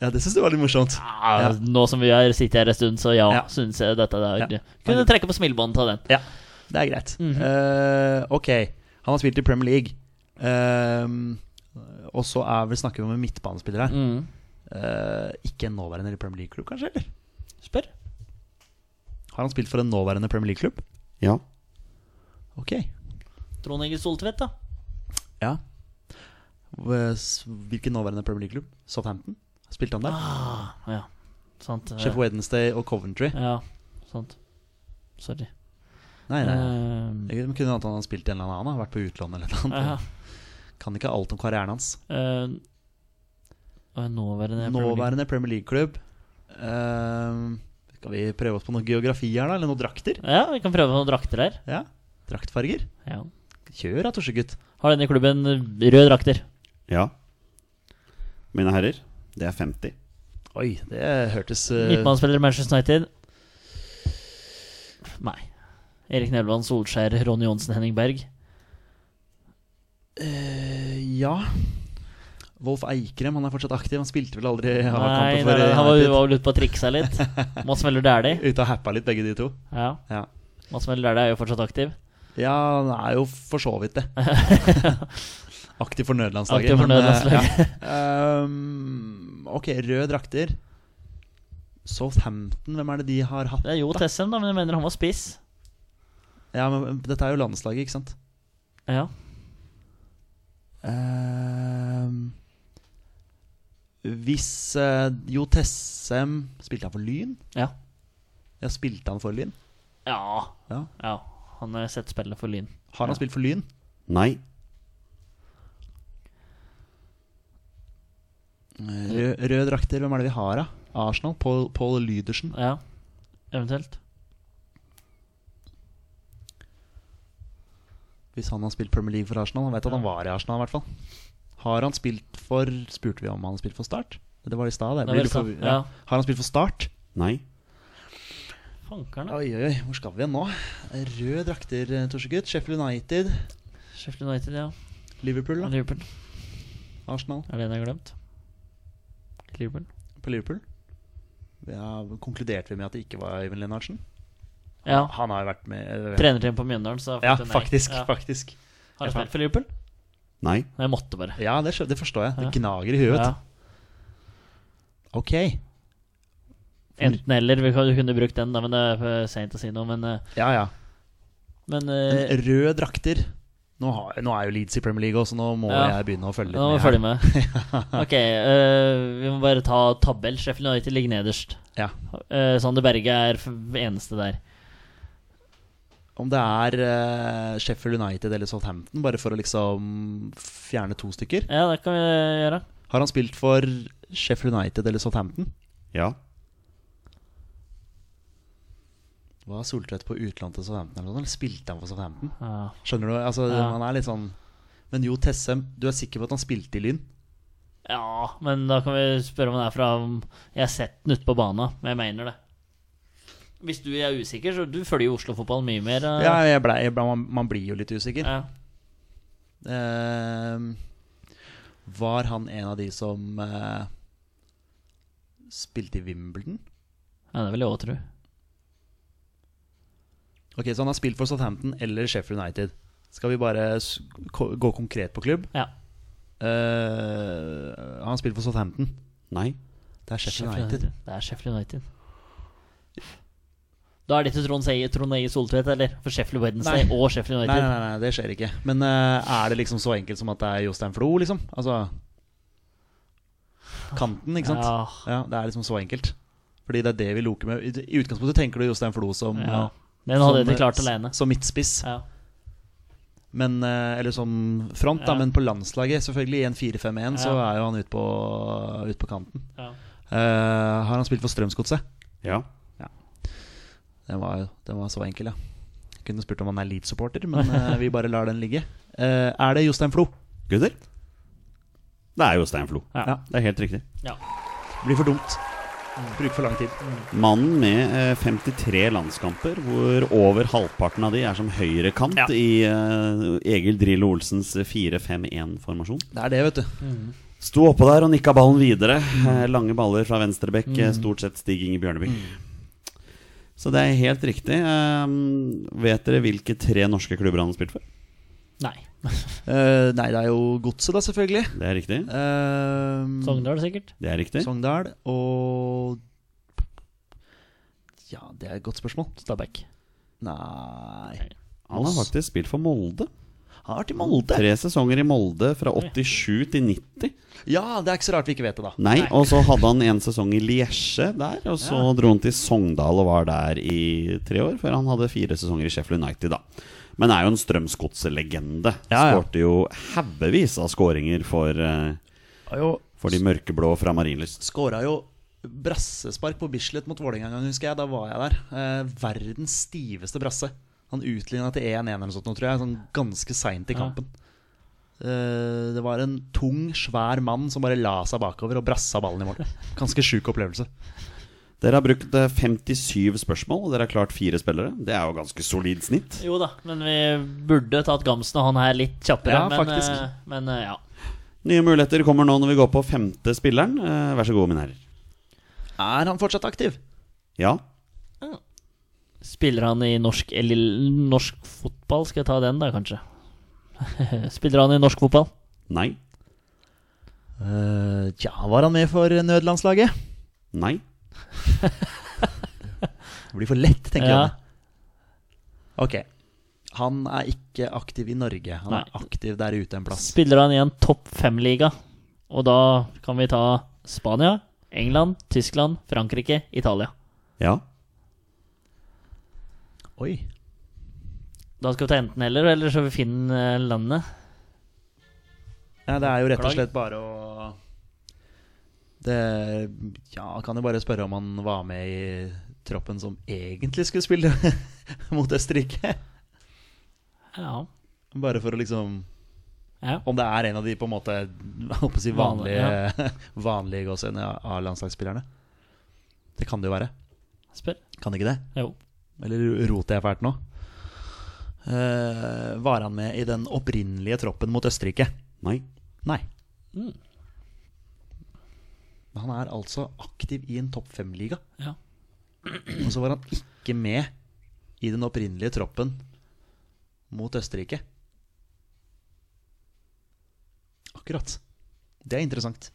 Ja, det syns du var litt morsomt. Ja, Ja. Nå som vi har sittet her en stund, så ja, Ja. synes jeg dette er Ja. Kunne trekke på smilebåndet av den. Ja, det er greit. Mhm. Eh, ok, han har spilt i Premier League. Ehm, og så er vel snakker vi om en midtbanespiller her. Mm. Eh, ikke en nåværende Premier League-klubb, kanskje? eller? Spør. Har han spilt for en nåværende Premier League-klubb? Ja. Ok. Trond Egil Soltvedt, da. Ja. Hva- Eh, s- Hvilken nåværende Premier League-klubb? Southampton? Spilte han der? Ah, ja. Sant. eh, Chef Wednesday og Coventry? Ja, sant. Sorry. Nei, nei. nei. Ehm, Jeg kunne hende at han hadde spilt i en eller annen annen, vært på utlån eller noe Ah, ja, annet. Kan ikke alt om karrieren hans. ehm, og en nåværende Nåværende Premier League-klubb. Ehm, skal vi prøve oss på noe geografi her, da? Eller noen drakter? Ja, vi kan prøve noen drakter her. Ja, Draktfarger? Ja. Kjør da, Torsegutt. Har denne klubben røde drakter? Ja. Mine herrer, det er 50. Oi, det hørtes eh, Midtbanespiller i Manchester United? Nei. Erik Nevland, Solskjær, Ronny Johnsen, Henning Berg. eh, Ja. Wolf Eikrem han er fortsatt aktiv. Han spilte vel aldri Nei, A-kampen for nei, nei, han var, United. var vel ute på å trikse litt. Mads Møller Dæhlie. Ute og happa litt, begge de to. Ja. Ja. Mads Møller Dæhlie er jo fortsatt aktiv. Ja, han er jo for så vidt det. Aktiv for nødlandslaget. Aktiv for men, eh, nødlandslaget. ja. Um, ok, røde drakter. Southampton, hvem er det de har hatt? Det er Jo Tessem, da, men jeg mener han var spiss. Ja, men Dette er jo landslaget, ikke sant? Ja. Um, hvis eh, Jo Tessem Spilte han for Lyn? Ja. Ja, spilte han for Lyn? ja. Ja. ja. Han har sett spillet for Lyn. Har han Ja. spilt for Lyn? Nei. Rød, røde drakter, hvem er det vi har, da? Arsenal? Paul, Paul Lydersen? Ja, eventuelt. Hvis han har spilt Premier League for Arsenal Han vet at han var i Arsenal i hvert fall Har han spilt for Spurte vi om han har spilt for Start? Det var i stad det. Det er Blir vel du for- sant, ja. ja. Har han spilt for Start? Nei. Fankeren, da. Oi, oi, oi, hvor skal vi igjen nå? Rød drakter, eh, Torsegutt Sheffield United Sheffield United, ja. Liverpool, da Liverpool. Arsenal Er det en jeg har glemt? Liverpool? på Liverpool ja, Konkluderte vi med at det ikke var Øyvind Lennartsen? Ja. Han har jo vært med eh, Trenerteam på Mjøndalen, så Ja, fikk det nei. faktisk, Ja. faktisk Har du spilt for Liverpool? Nei. Nei, jeg måtte bare. Ja, det, skjø- det forstår jeg Det Ja. gnager i huet Ja. Ok Enten eller. Vi kan- du kunne brukt den, da, men det er for seint å si noe. Men, eh, Ja, ja men Men eh, Røde drakter nå, har, nå er jo Leeds i Premier League også, nå må Ja. jeg begynne å følge litt nå må vi her. følge med. Ok, eh, vi må bare ta tabell. Sheffield United ligger nederst. Ja. Eh, Sander Berge er f- eneste der. Om det er eh, Sheffield United eller Southampton, bare for å liksom fjerne to stykker. Ja, det kan vi gjøre. Har han spilt for Sheffield United eller Southampton? Ja. Var Soltvedt på utlån til Southampton eller noe sånt? Eller spilte han for Southampton? Ja. Skjønner du? Altså, Ja. han er litt sånn Men Jo Tessem, du er sikker på at han spilte i Lyn? Ja, men da kan vi spørre om det er fra om Jeg har sett den ute på banen, men jeg mener det. Hvis du er usikker, så du følger jo Oslo-fotballen mye mer. eh. Ja, jeg ble, jeg ble, man, man blir jo litt usikker. Ja. Ehm, var han en av de som eh, spilte i Wimbledon? ja, det vil jeg òg tro. Ok, Så han har spilt for Southampton eller Sheffield United. Skal vi bare s- ko- gå konkret på klubb? Ja. Eh, han har spilt for Southampton. Nei. Det er Sheffield United. Det er Sheffield United. Da er det ikke Trond Eie Trond Eie Soltvedt, eller? For Sheffield Wednesday Nei. og Nei, Sheffield United. nei, nei, nei, det skjer ikke. Men eh, er det liksom så enkelt som at det er Jostein Flo, liksom? Altså Kanten, ikke sant? Ja. Ja, Det er liksom så enkelt. Fordi det er det vi loker med. I i utgangspunktet tenker du Jostein Flo som Ja. eh, Den hadde jeg som, ikke klart eh, alene. Som midtspiss. Ja. Men, eh, eller som front, da, Ja. men på landslaget, selvfølgelig, i en 4-5-1, så Ja. er jo han ute på, ut på kanten. Ja. Eh, har han spilt for Strømsgodset? Ja. Den var, den var så enkel, ja. Jeg kunne spurt om han er Leeds-supporter, men eh, vi bare lar den ligge. Eh, er det Jostein Flo? Gutter? Det er Jostein Flo. Ja. Ja. Det er helt riktig. Ja. Blir for dumt. Mm. Bruker for lang tid. Mannen med eh, 53 landskamper, hvor over halvparten av de er som høyrekant Ja. eh, i eh, Egil Drillo Olsens 4-5-1-formasjon. Det er det, vet du. Mhm. Sto oppå der og nikka ballen videre. Eh, Lange baller fra venstrebekk, eh, stort sett Stig Inge Bjørneby. Mm. Så det er helt riktig. Ehm, vet dere hvilke tre norske klubber han har spilt for? Nei. Eh, nei, det er jo Godset, da, selvfølgelig. Det er riktig. Eh, Sogndal, sikkert. Det er riktig. Sogndal og Ja, det er et godt spørsmål. Stabæk. Nei Han har faktisk spilt for Molde. Han har vært i Molde. Tre sesonger i Molde fra 87 til 90. Ja, det er ikke så rart vi ikke vet det, da. Nei, og så hadde han en sesong i Liesje der, og så dro han til Sogndal og var der i tre år, før han hadde fire sesonger i Sheffield United, da. Men er jo en Strømsgodset-legende. Ja, ja. Skårte jo haugevis av skåringer for, eh, Har jo for de mørkeblå fra Marienlyst. Skåra jo brassespark på Bislett mot Vålerenga en gang, husker jeg. Da var jeg der. Eh, verdens stiveste brasse. Han utligna til 1-1 eller noe sånt, nå, tror jeg. Sånn ganske seint i Ja. kampen. Eh, det var en tung, svær mann som bare la seg bakover og brassa ballen i mål. Ganske sjuk opplevelse. Dere har brukt eh, 57 spørsmål, og dere har klart fire spillere. Det er jo ganske solid snitt. Jo da, men vi burde tatt Gamsen og han her litt kjappere. Ja, men, faktisk. eh, men eh, ja. Nye muligheter kommer nå når vi går på femte spilleren. Eh, Vær så god, mine herrer. Er han fortsatt aktiv? Ja, Spiller han i norsk eller norsk fotball? Skal jeg ta den, da, kanskje? Spiller han i norsk fotball? nei, Eh, ja, var han med for nødlandslaget? nei, Det blir for lett, tenker Ja. jeg. Ok. Han er ikke aktiv i Norge. Han Nei. er aktiv der ute en plass. Spiller han i en topp fem-liga? Og da kan vi ta Spania, England, Tyskland, Frankrike, Italia. ja. Oi. Da skal vi ta enten-eller, eller så finner vi landet. Ja, det er jo rett og Klag. slett bare å det, Ja, kan jo bare spørre om han var med i troppen som egentlig skulle spille mot Østerrike. Ja. Bare for å liksom ja. Om det er en av de på en måte jeg håper å si vanlige, vanlige gåsehudene A-landslagsspillerne. Det kan det jo være. Spør. Kan det ikke det? Jo. Eller roter jeg fælt nå? Eh, var han med i den opprinnelige troppen mot Østerrike? Nei. Nei. Mm. Han er altså aktiv i en topp fem-liga. Ja. Og så var han ikke med i den opprinnelige troppen mot Østerrike. Akkurat. Det er interessant.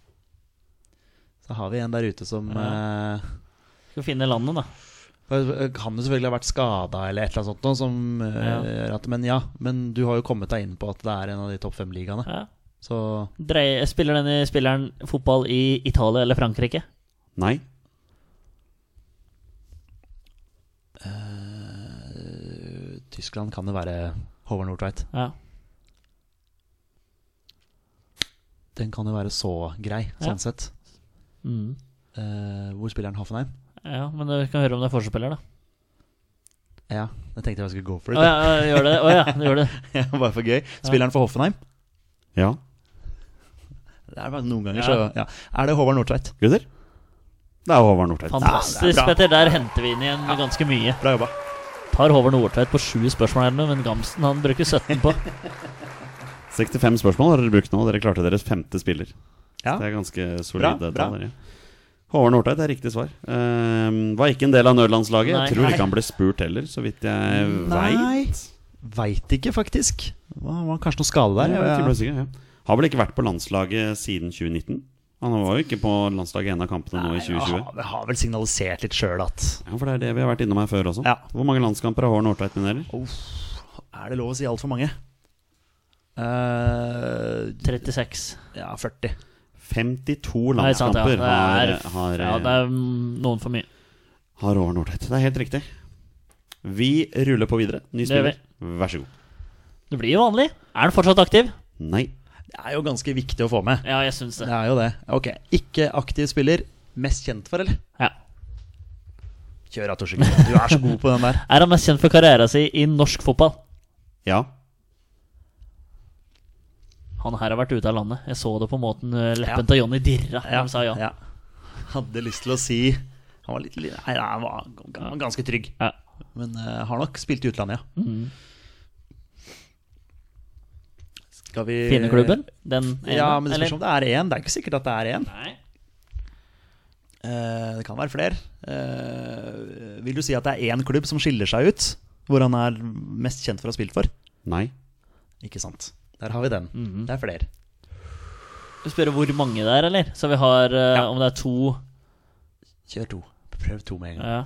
Så har vi en der ute som eh, Skal vi finne landet, da. Kan jo selvfølgelig ha vært skada eller et eller annet sånt. Noe, som, eh, Ja. gjør at, men ja, men du har jo kommet deg inn på at det er en av de topp fem-ligaene. Ja. Så Dreie, spiller denne spilleren fotball i Italia eller Frankrike? Nei. Tyskland kan jo være Håvard Nordtveit. Ja. Den kan jo være så grei, Ja. sånn sett. Mm. Eh, hvor spiller han Hoffenheim? ja. Men vi kan høre om det er forspiller, da. Ja, jeg tenkte jeg skulle gå for Å det. ja, ja, gjør det. Å ja, det gjør det. Bare for gøy. Spiller han for Hoffenheim? Ja. Det er bare noen ganger, Ja. så ja. Er det Håvard Nordtveit? Gutter? Det er Håvard Nordtveit. Fantastisk, bra. Petter. Der henter vi inn igjen ganske mye. Bra jobba. Tar Håvard Nordtveit på sju spørsmål her nå, men Gamsten han bruker 17 på. 65 spørsmål har dere brukt nå. Dere klarte deres femte spiller. Ja. Det er ganske Bra, solide bra. tall. dere. Håvard Nordtveit er riktig svar. Ehm, var ikke en del av nødlandslaget. Nei. Jeg tror Nei. ikke han ble spurt heller, så vidt jeg veit. Nei, veit ikke, faktisk. Hva, var kanskje noe skade Jeg der? vet ikke, jeg ble sikker, ja. Har vel ikke vært på landslaget siden 2019? Han var jo ikke på landslaget i en av kampene nå i Nei, han 2020. har, har vel signalisert litt sjøl at Ja, for det er det vi har vært innom her før også. Ja. Hvor mange landskamper har Håvard Nordtveit minerer? Er det lov å si altfor mange? Eh, 36. ja, 40. 52 Nei, sant, ja. landskamper Det har, er, har, ja, det er mm, noen for mye. Har Håvard Nordtveit. Det er helt riktig. Vi ruller på videre. Ny Det gjør spiller. Vær så god. Det blir jo vanlig. Er han fortsatt aktiv? Nei. Det er jo ganske viktig å få med. Ja, jeg syns Det det. er jo det. Ok, Ikke aktiv spiller. Mest kjent for, eller? Ja. Kjør, Atoshi. Du er så god på den der. Er han mest kjent for karriera si i norsk fotball? Ja. Han her har vært ute av landet. Jeg så det på måten eh, leppen til Jonny dirra. Ja. Han sa ja. Ja. Hadde lyst til å si Han var litt litt- Nei, han var han var ganske trygg. Ja. Mm. Men eh, har nok spilt i utlandet, ja. Skal vi Kvinneklubben? Den ene? Ja, men det spørs eller? om det er én. Det er ikke sikkert at det er én. Nei. Eh, det kan være flere. Eh, vil du si at det er én klubb som skiller seg ut? Hvor han er mest kjent for å ha spilt for? Nei. Ikke sant. Der har vi den. Mm. Det er flere. Vi spør hvor mange det er, eller? Så vi har eh, Om det er to Kjør to. Prøv to med en gang. ja.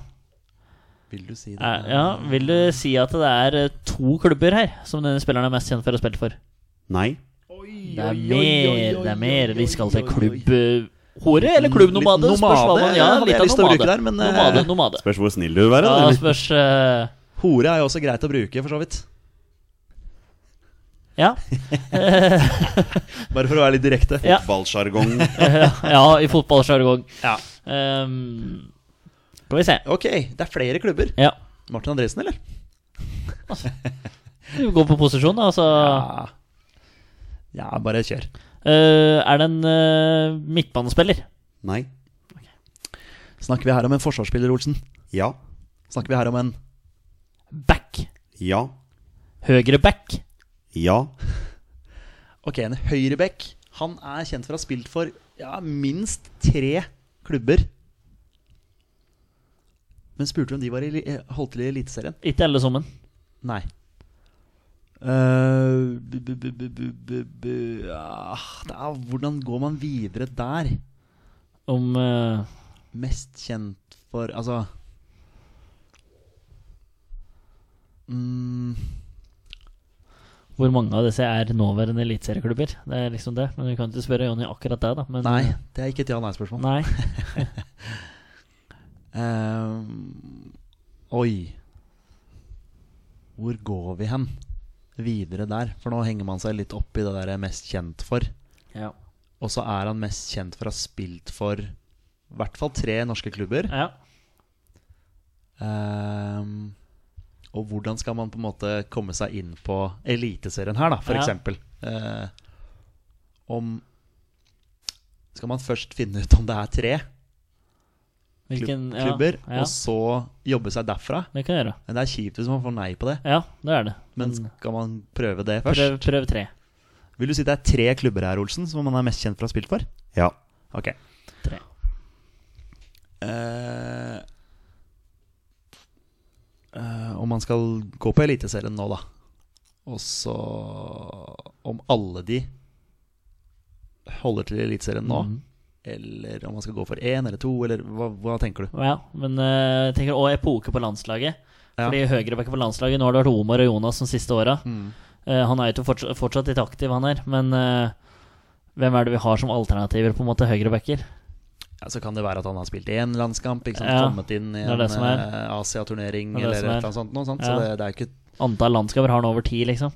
Vil du si det? Eh, ja, vil du si at det er eh, to klubber her som denne spilleren er mest kjent for å ha spilt for? Nei. Det er mer, det er mer vi skal til klubbhore eller klubbnomade? Litt Spørs hva nomade, man- ja, ja, hadde litt jeg av lyst til å bruke nomade. der, men, eh, Nomade, nomade. Spørs hvor snill du vil være. Ja, eller? spørs eh, Hore er jo også greit å bruke, for så vidt. Ja. Bare for å være litt direkte. Ja. Fotballsjargong. ja, i fotballsjargong. Ja. Ehm, skal vi se. Ok, det er flere klubber. Ja. Martin Andresen, eller? Vi går på posisjon, da. Altså, Ja, bare kjør. Eh, er det en eh, midtbanespiller? Nei. Snakker vi her om en forsvarsspiller, Olsen? Ja. Snakker vi her om en Back. Ja. Høyre back. Ja. Ok, en høyreback. Han er kjent for å ha spilt for ja, minst tre klubber. Men spurte du om de var i, li- eh, holdt til i Eliteserien? Ikke alle sammen. Nei. Eh, bu- bu- bu- bu- bu- bu- bu- ah, det er, hvordan går man videre der? Om eh, Mest kjent for Altså mm, hvor mange av disse er nåværende eliteserieklubber. Det er liksom det. Men vi kan ikke spørre Jonny akkurat det, da. Men, eh, Nei, det er ikke et ja-nei-spørsmål. Nei. Ehm, oi. Hvor går vi hen videre der? For nå henger man seg litt opp i det der jeg er mest kjent for. Ja. Og så er han mest kjent for å ha spilt for i hvert fall tre norske klubber. ja. Ehm, og hvordan skal man på en måte komme seg inn på Eliteserien her, da, for Ja. eksempel? Eh, om Skal man først finne ut om det er tre Hvilken ja, klubber, Ja, og så jobbe seg derfra? det kan vi gjøre. Men Det er kjipt hvis man får nei på det. Ja, det er det. Men skal man prøve det først? Mm. prøv, prøv tre. Vil du si det er tre klubber her, Olsen, som man er mest kjent for å ha spilt for? Ja. Ok. tre. Eh, eh, om man skal gå på Eliteserien nå, da. Og så om alle de holder til i Eliteserien nå. Mhm. Eller om man skal gå for én eller to, eller hva, hva tenker du? Ja, men eh, jeg tenker også epoke på landslaget. Ja. Fordi høyrebacken på landslaget Nå har det vært Omar og Jonas de siste åra. Eh, han er jo ikke fortsatt, fortsatt litt aktiv, han her. Men eh, hvem er det vi har som alternativer, på en måte? Høyrebacker? Ja, så kan det være at han har spilt én landskamp, ikke sant? Ja, kommet inn i det er en det som er. eh, Asia-turnering Det er eller et det som er. eller annet sånt. Noe, sant? Ja. Så det, det er jo ikke Antall landskamper har han over ti, liksom.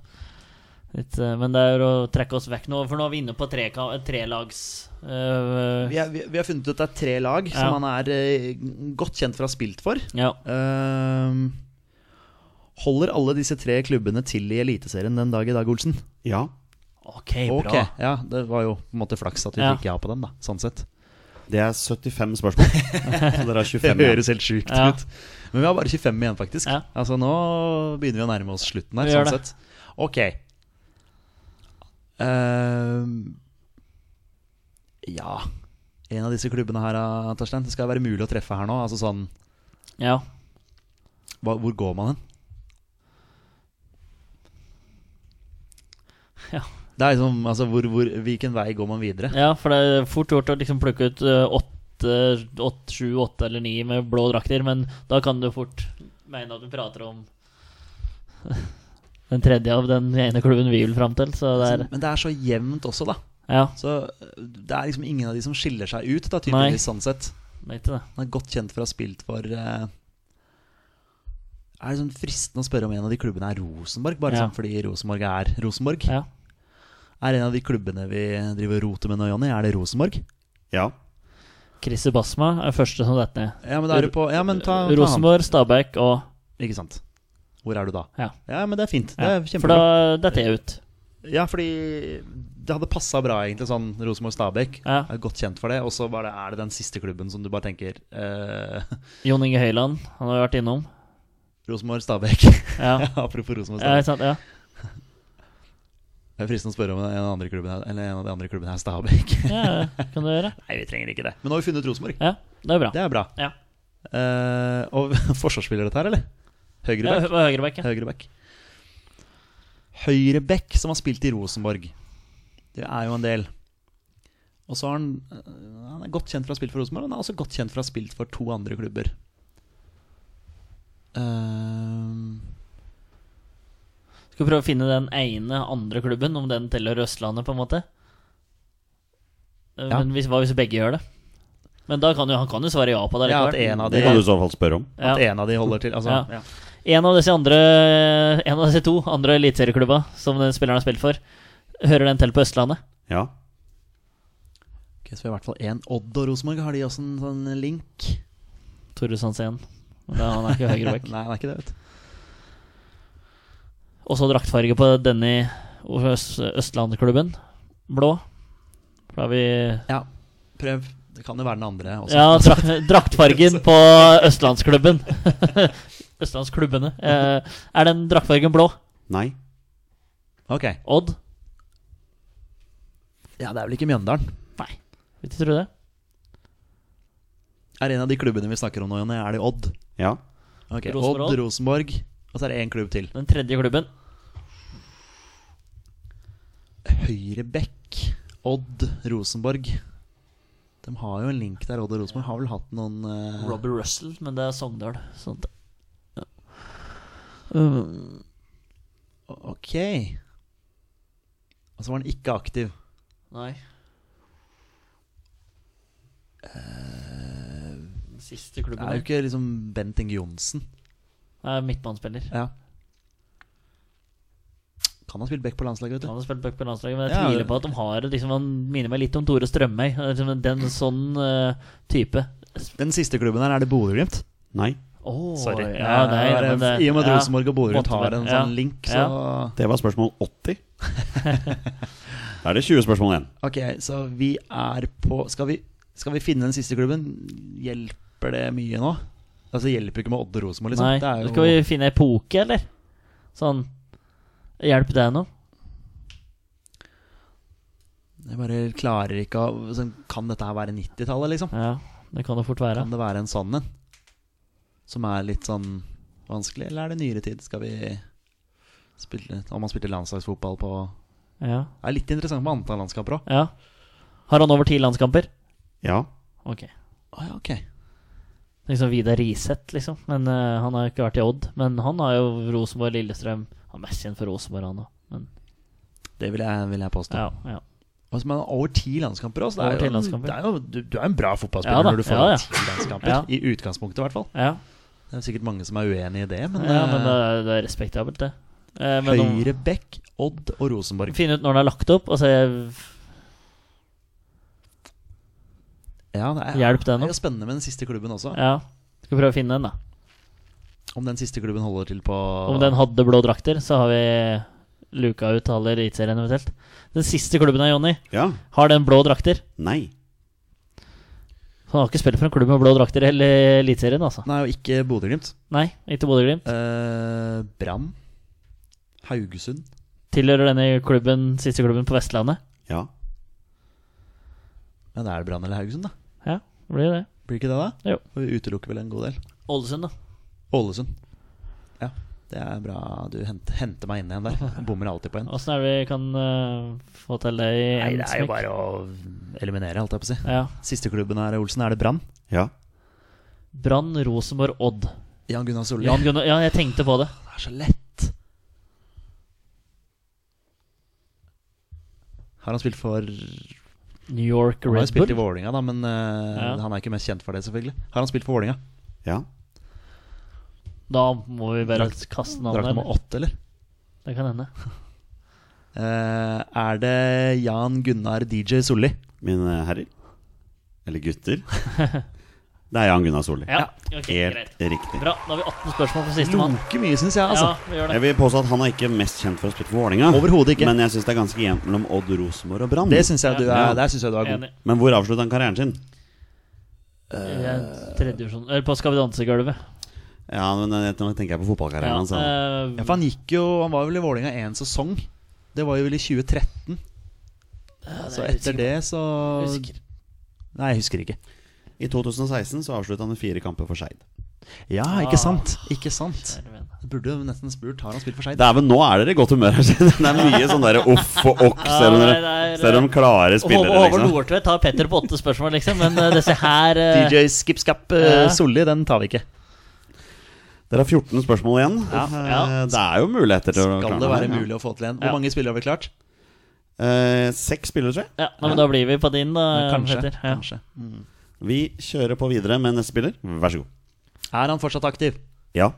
Litt, eh, men det er å trekke oss vekk nå, for nå er vi inne på treka- trelags... Vi, Uh, er, vi, vi har funnet ut at det er tre lag Ja. som han er eh, godt kjent for å ha spilt for. ja. Ehm, holder alle disse tre klubbene til i Eliteserien den dag i dag, Olsen? Ja. OK, bra. Ok, ja, Det var jo på en måte flaks at vi Ja. fikk ja på den, da. Sånn sett. Det er 75 spørsmål. Så dere har 25 igjen. helt sjukt Ja. Men vi har bare 25 igjen, faktisk. Ja. Altså Nå begynner vi å nærme oss slutten her, Vi gjør sånn det. sett. Ok. Ehm, ja En av disse klubbene her, ah, Torstein. Det skal være mulig å treffe her nå. Altså sånn Ja. hva, Hvor går man hen? Ja. Det er liksom, altså hvor, hvor, Hvilken vei går man videre? ja, for det er fort gjort å liksom plukke ut eh, åtte, åtte, sju, åtte eller ni med blå drakter, men da kan du fort mene at du prater om den tredje av den ene klubben vi vil fram til, så det er Altså, Men det er så jevnt også, da. Ja, Så øh, Det er liksom ingen av de som skiller seg ut, da, tydeligvis sånn sett. det er ikke det. Han er godt kjent for å ha spilt for eh, Er det sånn fristende å spørre om en av de klubbene er Rosenborg, bare Ja. sånn fordi Rosenborg er Rosenborg? Ja. Er en av de klubbene vi driver og roter med nå, Jonny, er det Rosenborg? Ja. Chris Basma er første som detter ned. Ja, men da er det på Ja, men ta, ta han. Rosenborg, Stabæk og Ikke sant. Hvor er du da? Ja. men det er fint. Det ja. er For kjempebra. da detter jeg ut. Ja, fordi det hadde passa bra, egentlig, sånn Rosenborg-Stabæk. Ja. Jeg er godt kjent for det. Og så bare er det den siste klubben som du bare tenker eh, Jon Inge Høyland, han har vi vært innom. Rosenborg-Stabæk. Ja, Apropos ja Rosenborg-Stabæk. ikke sant? Ja. Det er fristende å spørre om en av de andre klubbene her, eller en av de andre klubbene her Stabæk. Ja, det kan du gjøre. Nei, vi trenger ikke det. Men nå har vi funnet Rosenborg. Ja, det er bra. Det er bra. Ja. Eh, og forsvarsspiller dette her, eller? Ja, Høyreback. hø- Høyreback. ja. Høyreback. Høyreback som har spilt i Rosenborg. Det er jo en del. Og så har han eh, Han er godt kjent for å ha spilt for Rosenborg, men han er også godt kjent for å ha spilt for to andre klubber. Eh, Skal prøve å finne den ene andre klubben, om den teller Østlandet, på en måte. Eh, Ja. Men hvis, hva hvis begge gjør det? Men da kan jo, han kan jo svare ja på det. ja, at likevel. en av de, Det kan du i så fall spørre om. Ja. at en av de holder til. Altså, Ja. ja. En av disse andre En av disse to andre eliteserieklubba som den spilleren har spilt for, hører den til på Østlandet? Ja. Ok, så vi har i hvert fall én Odd og Rosenborg. Har de også en sånn link? Tore Sandsén. Men da- Han er ikke høyreback. Nei, det er ikke det, vet du. Også draktfarge på denne i Øst, Østlandklubben. Blå. For Da har vi Ja, prøv. Det kan jo være den andre også. Ja, altså. drak draktfargen på Østlandsklubben. Østlandsklubbene. Eh, er den draktfargen blå? Nei. Ok. Odd? Ja, det er vel ikke Mjøndalen. Nei. Vet du tror det? Er en av de klubbene vi snakker om nå, Jonny, er det Odd? Ja. Ok, Rosenborg, Odd, Rosenborg, og så er det én klubb til. Den tredje klubben. Høyrebekk, Odd, Rosenborg. De har jo en link der, Odd og Rosenborg. Har vel hatt noen eh, Robert Russell, men det er Sogndal. Sånt. Ja. Mm. Um, Ok. Og så var han ikke aktiv. nei. Eh, Den Siste Det klubben er jo her. ikke liksom Bent Inge Johnsen. Det er midtbanespiller. Ja. Kan ha spilt back på landslaget, vet Han du. har spilt back på landslaget, men jeg Ja, tviler det- på at de har liksom, Han minner meg litt om Tore Strømøy. Liksom Den sånn eh, type. Den siste klubben her, er det Bodø-Glimt? Nei. Oh, Sorry. Ja, nei, det er- men det- I og med at ja. Rosenborg og Bodø-Glimt måtte har være- en ja. sånn link, så Det var spørsmål 80. Da er det 20 spørsmål igjen. Ok, så vi er på skal vi, skal vi finne den siste klubben? Hjelper det mye nå? Altså Det hjelper jo ikke med Odd og Rosenborg, liksom. Nei, det er jo, Skal vi finne epoke, eller? Sånn Hjelp deg nå. Jeg bare klarer ikke å sånn, Kan dette her være 90-tallet, liksom? Ja, det kan det fort være. Kan det være en sånn en? Som er litt sånn vanskelig, eller er det nyere tid? Skal vi spille Om man spilte landslagsfotball på Ja, Det er litt interessant med antall landskamper òg. ja. Har han over ti landskamper? Ja. Ok. Å ja, ok. Liksom Vidar Riseth, liksom. Men eh, Han har jo ikke vært i Odd. Men han har jo Rosenborg, Lillestrøm Han er mest kjent for Rosenborg, han òg. Men Det vil jeg, vil jeg påstå. ja, ja. Altså, men over ti landskamper også. Det Over er jo, ti en- landskamper. det er jo, du, du er en bra fotballspiller Ja da, når du får ja, ja. ti landskamper. Ja. I utgangspunktet, i hvert fall. ja. Det er sikkert mange som er uenig i det, men, ja men det eh, er, det er respektabelt, det. Eh, men om- Høyre Bekk, Odd og Rosenborg. Finne ut når det er lagt opp, og se Ja, det er, Hjelp det den er jo opp. spennende med den siste klubben også. Ja. Skal prøve å finne en, da. Om den siste klubben holder til på Om den hadde blå drakter, så har vi luka ut alle eliteserien eventuelt. Den siste klubben av Jonny Ja. har den blå drakter. Nei. Så han har ikke spilt for en klubb med blå drakter i hele eliteserien, altså. Nei, og ikke Bodø-Glimt. Nei, ikke Bodø-Glimt. Eh, Brann. Haugesund. Tilhører denne klubben, siste klubben på Vestlandet. Ja. Ja, det er det Brann eller Haugesund, da. Ja, det blir det. Blir ikke det, da? Jo. Og vi utelukker vel en god del. Ålesund, da. Ålesund. Ja, det er bra du henter, henter meg inn igjen der. Bommer alltid på en. Åssen er det vi kan eh, få til det i Nei, en det er jo smekk? bare å eliminere, holdt jeg på å si. Ja. Siste klubben her, Olsen, er det Brann? Ja. Brann, Rosenborg, Odd. Jan Gunnar Solli. Jan Gunnar Ja, jeg tenkte på det. Det er så lett! Har han spilt for Han New York har jo Red spilt i Bull. Vålinga da, men eh, Ja. han er ikke mest kjent for det, selvfølgelig. Har han spilt for Vålinga? Ja. Da må vi bare kaste Drakt navnet. nummer eller? åtte, eller? Det kan hende. Eh, er det Jan Gunnar DJ Solli? Mine herrer. Eller gutter. Det er Jan Gunnar Solli. Ja, ok, greit. Helt riktig. Bra. Da har vi 18 spørsmål på sistemann. Loke mye, syns jeg, altså. Ja, vi gjør det. Jeg vil påstå at han er ikke mest kjent for å spille for Vålerenga. Overhodet ikke. Men jeg syns det er ganske jevnt mellom Odd Rosenborg og Brann. det syns jeg, du er- Ja. der syns jeg du er god. Enig. Men hvor avslutta han karrieren sin? I en Eh, tredje divisjon. Eller på Skal vi danse-gulvet. Ja, men eh, Nå tenker jeg på fotballkarrieren hans. Ja, da. Ja, eh, for han gikk jo Han var vel i Vålinga én sesong. Det var jo vel i 2013. Ja, det Så er jeg etter usikker det så på. Usikker. Nei, jeg husker ikke. I 2016 så avslutta han med fire kamper for Skeid. Ja, Ah. ikke sant? Ikke sant? Kjære venn. Jeg burde jo nesten spurt har han spilt for Skeid. Dæven, nå er dere i godt humør her. Det er mye sånn derre uff og okk, selv om Ja, dere det er- selv om klare Håvard spillere, Håvard liksom. Nordtvedt tar Petter på åtte spørsmål, liksom. Men eh, disse her eh, DJ Skipskap Ja. uh, Solli, den tar vi ikke. Dere har 14 spørsmål igjen. Ja, Eh, ja. Det er jo muligheter til å Skal klare det være her, ja. mulig å få til en? Ja. Hvor mange spillere har vi klart? Eh, seks spillere, tror jeg. Ja, nei, men da blir vi på din, da. Kanskje. Petter. Ja. Kanskje. Vi kjører på videre med neste spiller. Vær så god. Er han fortsatt aktiv? Ja.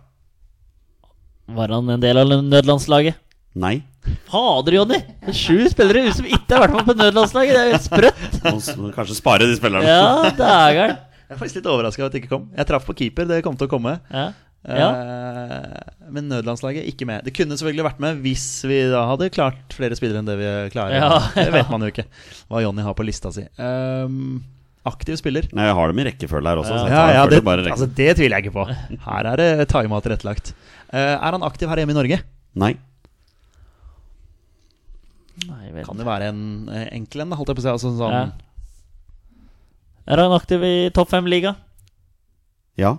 Var han en del av nødlandslaget? Nei. Fader, Jonny! Det er Sju spillere som ikke har vært med på nødlandslaget! Det er jo helt sprøtt! Må s- kanskje spare de spillerne. Ja, dægeren. Jeg er faktisk litt overraska over at det ikke kom. Jeg traff på keeper, det kom til å komme. Ja. Ja. Eh, men nødlandslaget ikke med. Det kunne selvfølgelig vært med hvis vi da hadde klart flere spillere enn det vi klarer. Ja, Det vet man jo ikke hva Jonny har på lista si. Ehm, aktiv spiller. Nei, jeg har dem i rekkefølge her også. så jeg Ja, tar ja, først det, bare altså, rekkefølge. det tviler jeg ikke på. Her er det tima tilrettelagt. Eh, er han aktiv her hjemme i Norge? Nei. Nei, vel. Kan jo være en eh, enkel en, da, holdt jeg på å si. Altså, sånn, Ja. Er han aktiv i topp fem-liga? Ja.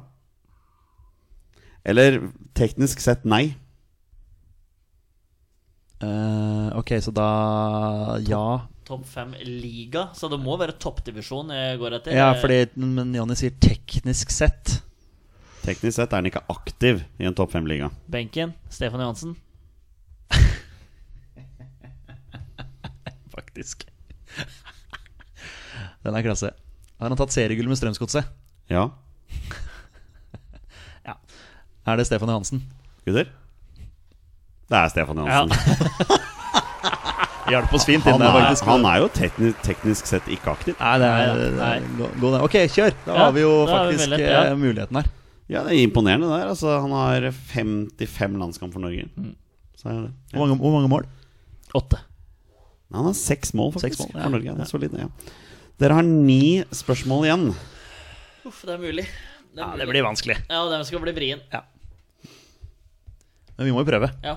Eller teknisk sett nei. eh, ok, så da ja. Topp fem-liga, så det må være toppdivisjon jeg går etter. Ja, fordi men Jonny sier teknisk sett. Teknisk sett er han ikke aktiv i en topp fem-liga. Benken, Stefan Johansen. Faktisk. Den er klasse. Har han tatt seriegull med Strømsgodset? Ja. Er det Stefan Johansen? Gutter? Det er Stefan Johansen. Hjalp oss fint Han, inn der, er, faktisk. han er jo teknisk, teknisk sett ikke aktiv. Nei, det er Nei, gå- gå ned. Ok, kjør! Da Ja, har vi jo da har vi faktisk mulighet, ja. eh, muligheten her. Ja, det er imponerende der. Altså, han har 55 landskamp for Norge. Så er det. Ja. Hvor mange, hvor mange mål? Åtte. Nei, Han har seks mål, faktisk, Seks mål, ja. for Norge. Det er solid, ja. Dere har ni spørsmål igjen. Uff, det er mulig. Det er mulig. vanskelig. Ja, den skal bli vrien. Men vi må jo prøve. Ja.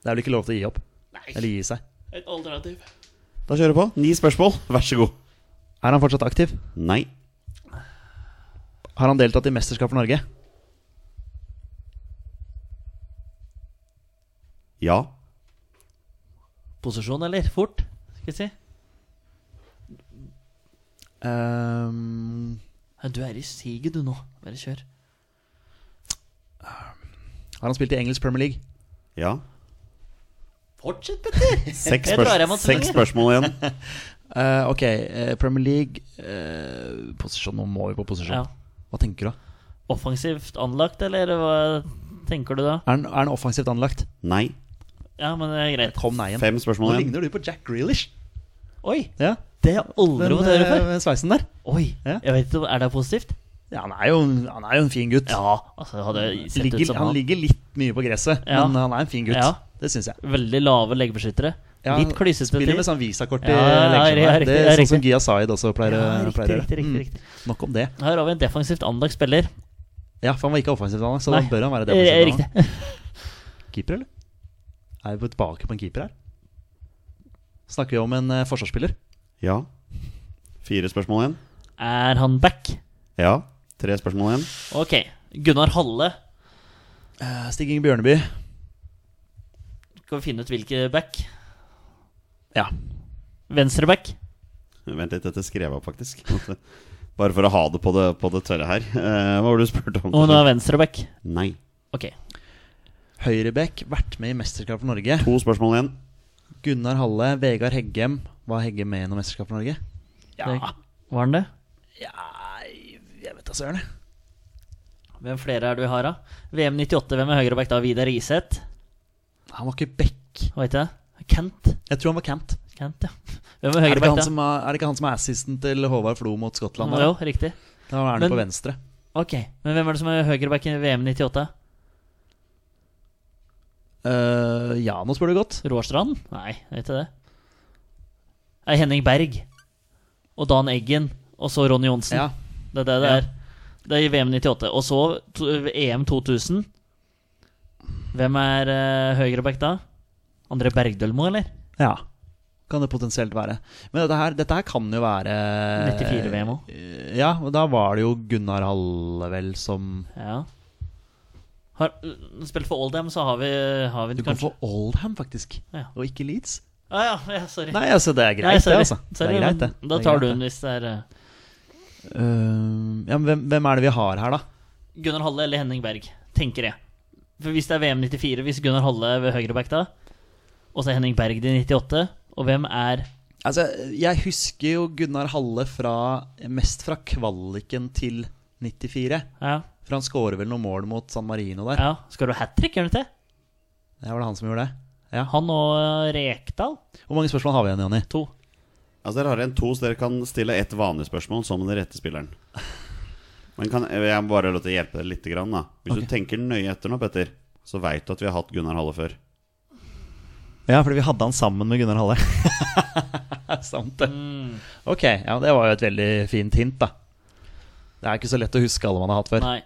Det er vel ikke lov til å gi opp? Eller Nei, gi seg. et alternativ. Da kjører vi på. Ni spørsmål, vær så god. Er han fortsatt aktiv? Nei. Har han deltatt i mesterskap for Norge? Ja. Posisjon, eller? Fort, skal vi si. Ehm, Ja, Du er i siget, du nå. Bare kjør. har han spilt i engelsk Premier League? Ja. Fortsett, Petter! Seks, Jeg tror spørs- jeg må seks tvinge. spørsmål igjen. Eh, ok, eh, Premier League eh, Posisjon, nå må vi på posisjon. Ja. Hva tenker du? da? Offensivt anlagt, eller hva tenker du da? Er han, er han offensivt anlagt? Nei. Ja, men det er greit. Kom nei igjen. Fem Nå spørsmål igjen. ligner du på Jack Grealish. Oi! Ja, eh, Det har jeg aldri fått høre før. sveisen der. Oi! ja. Jeg vet ikke, Er det positivt? Ja, han er jo, han er jo en fin gutt. Ja, altså hadde jeg sett ligger, ut som han han. ligger litt mye på gresset, Ja. men han er en fin gutt. Ja. Det syns jeg. Veldig lave leggebeskyttere. Ja, Litt klysete. Spiller til. med sånn visakort i Ja, ja, ja, leggskjema. ja, riktig, Det ja, er sånn riktig. som Gia Zaid også pleier å Ja, pleier å riktig, gjøre. riktig, Mm. riktig, riktig. Nok om det. Her har vi en defensivt anlagt spiller. Ja, for han var ikke offensivt anlagt, så Nei, da bør han være Eh, defensivt anlagt. Riktig. sånn. Keeper, eller? Er vi tilbake på en keeper her? Snakker vi om en eh, forsvarsspiller? Ja. Fire spørsmål igjen. Er han back? Ja. Tre spørsmål igjen. Ok. Gunnar Halle. Eh, Stig Inge Bjørneby. Skal vi finne ut hvilke back? Ja. Venstre back? Vent litt, dette skrev jeg opp, faktisk. Bare for å ha det på det, på det tørre her. Eh, hva var det du spurte om? Om han er venstre back? Nei. Ok. Høyrebekk, vært med i mesterskap for Norge. To spørsmål igjen. Gunnar Halle, Vegard Heggem. Var Heggem med i noe mesterskap for Norge? Det- Var han det? Jeg vet da søren, jeg. Hvem flere er det vi har, da? VM 98, hvem er høyreback da? Vidar Iseth? Han var ikke back. Hva heter det? Kent? Jeg tror han var Kent. Kent, ja. Hvem er Er det, ikke høyreback han da? som er, er det ikke han som er assisten til Håvard Flo mot Skottland? Jo, Da, riktig. da er han Men- på venstre. Ok, men hvem er det som er høyreback i VM 98? Eh, ja, nå spør du godt. Råstrand? Nei, jeg vet ikke det. Det er Henning Berg. Og Dan Eggen. Og så Ronny Johnsen. Ja. Det er det det Ja. er. Det er i VM 98. Og så E to, EM 2000. Hvem er uh, høyreback eh, da? André Bergdølmo, eller? Ja, kan det potensielt være. Men dette her, dette her kan jo være Eh, 94-VM òg. Ja, og da var det jo Gunnar Hallevel som Ja. Har øh, spilt for Oldham, så har vi, har vi Du den kan kanskje. få Oldham, faktisk, Ja. og ikke Leeds. Ah, ja, ja, sorry. Nei, altså, det er greit, Nei, sorry. det, altså. Sorry, det er men greit, det. Da Det er tar greit, du det. den hvis det er øh, Øhm, Eh, ja, men hvem, hvem er det vi har her, da? Gunnar Halle eller Henning Berg, tenker jeg. For hvis det er VM 94, hvis Gunnar Halle ved høyreback da, og så er Henning Berg i 98, og hvem er Altså, Jeg husker jo Gunnar Halle fra, mest fra kvaliken til 94. Ja, For han skårer vel noen mål mot San Marino der. ja. skal du ha hat trick, gjør du ikke det? Det var det han som gjorde det. Ja. Han og øh, Rekdal? Hvor mange spørsmål har vi igjen, Jonny? To. Altså Dere har en to, så dere kan stille ett vanlig spørsmål som den rette spilleren. Men kan, jeg må bare lov til å hjelpe deg litt. Grann, da. Hvis Ok. du tenker nøye etter nå, Petter, så veit du at vi har hatt Gunnar Halle før. Ja, fordi vi hadde han sammen med Gunnar Halle. Sant det. Mm. Ok, ja, det var jo et veldig fint hint, da. Det er ikke så lett å huske alle man har hatt før. Nei.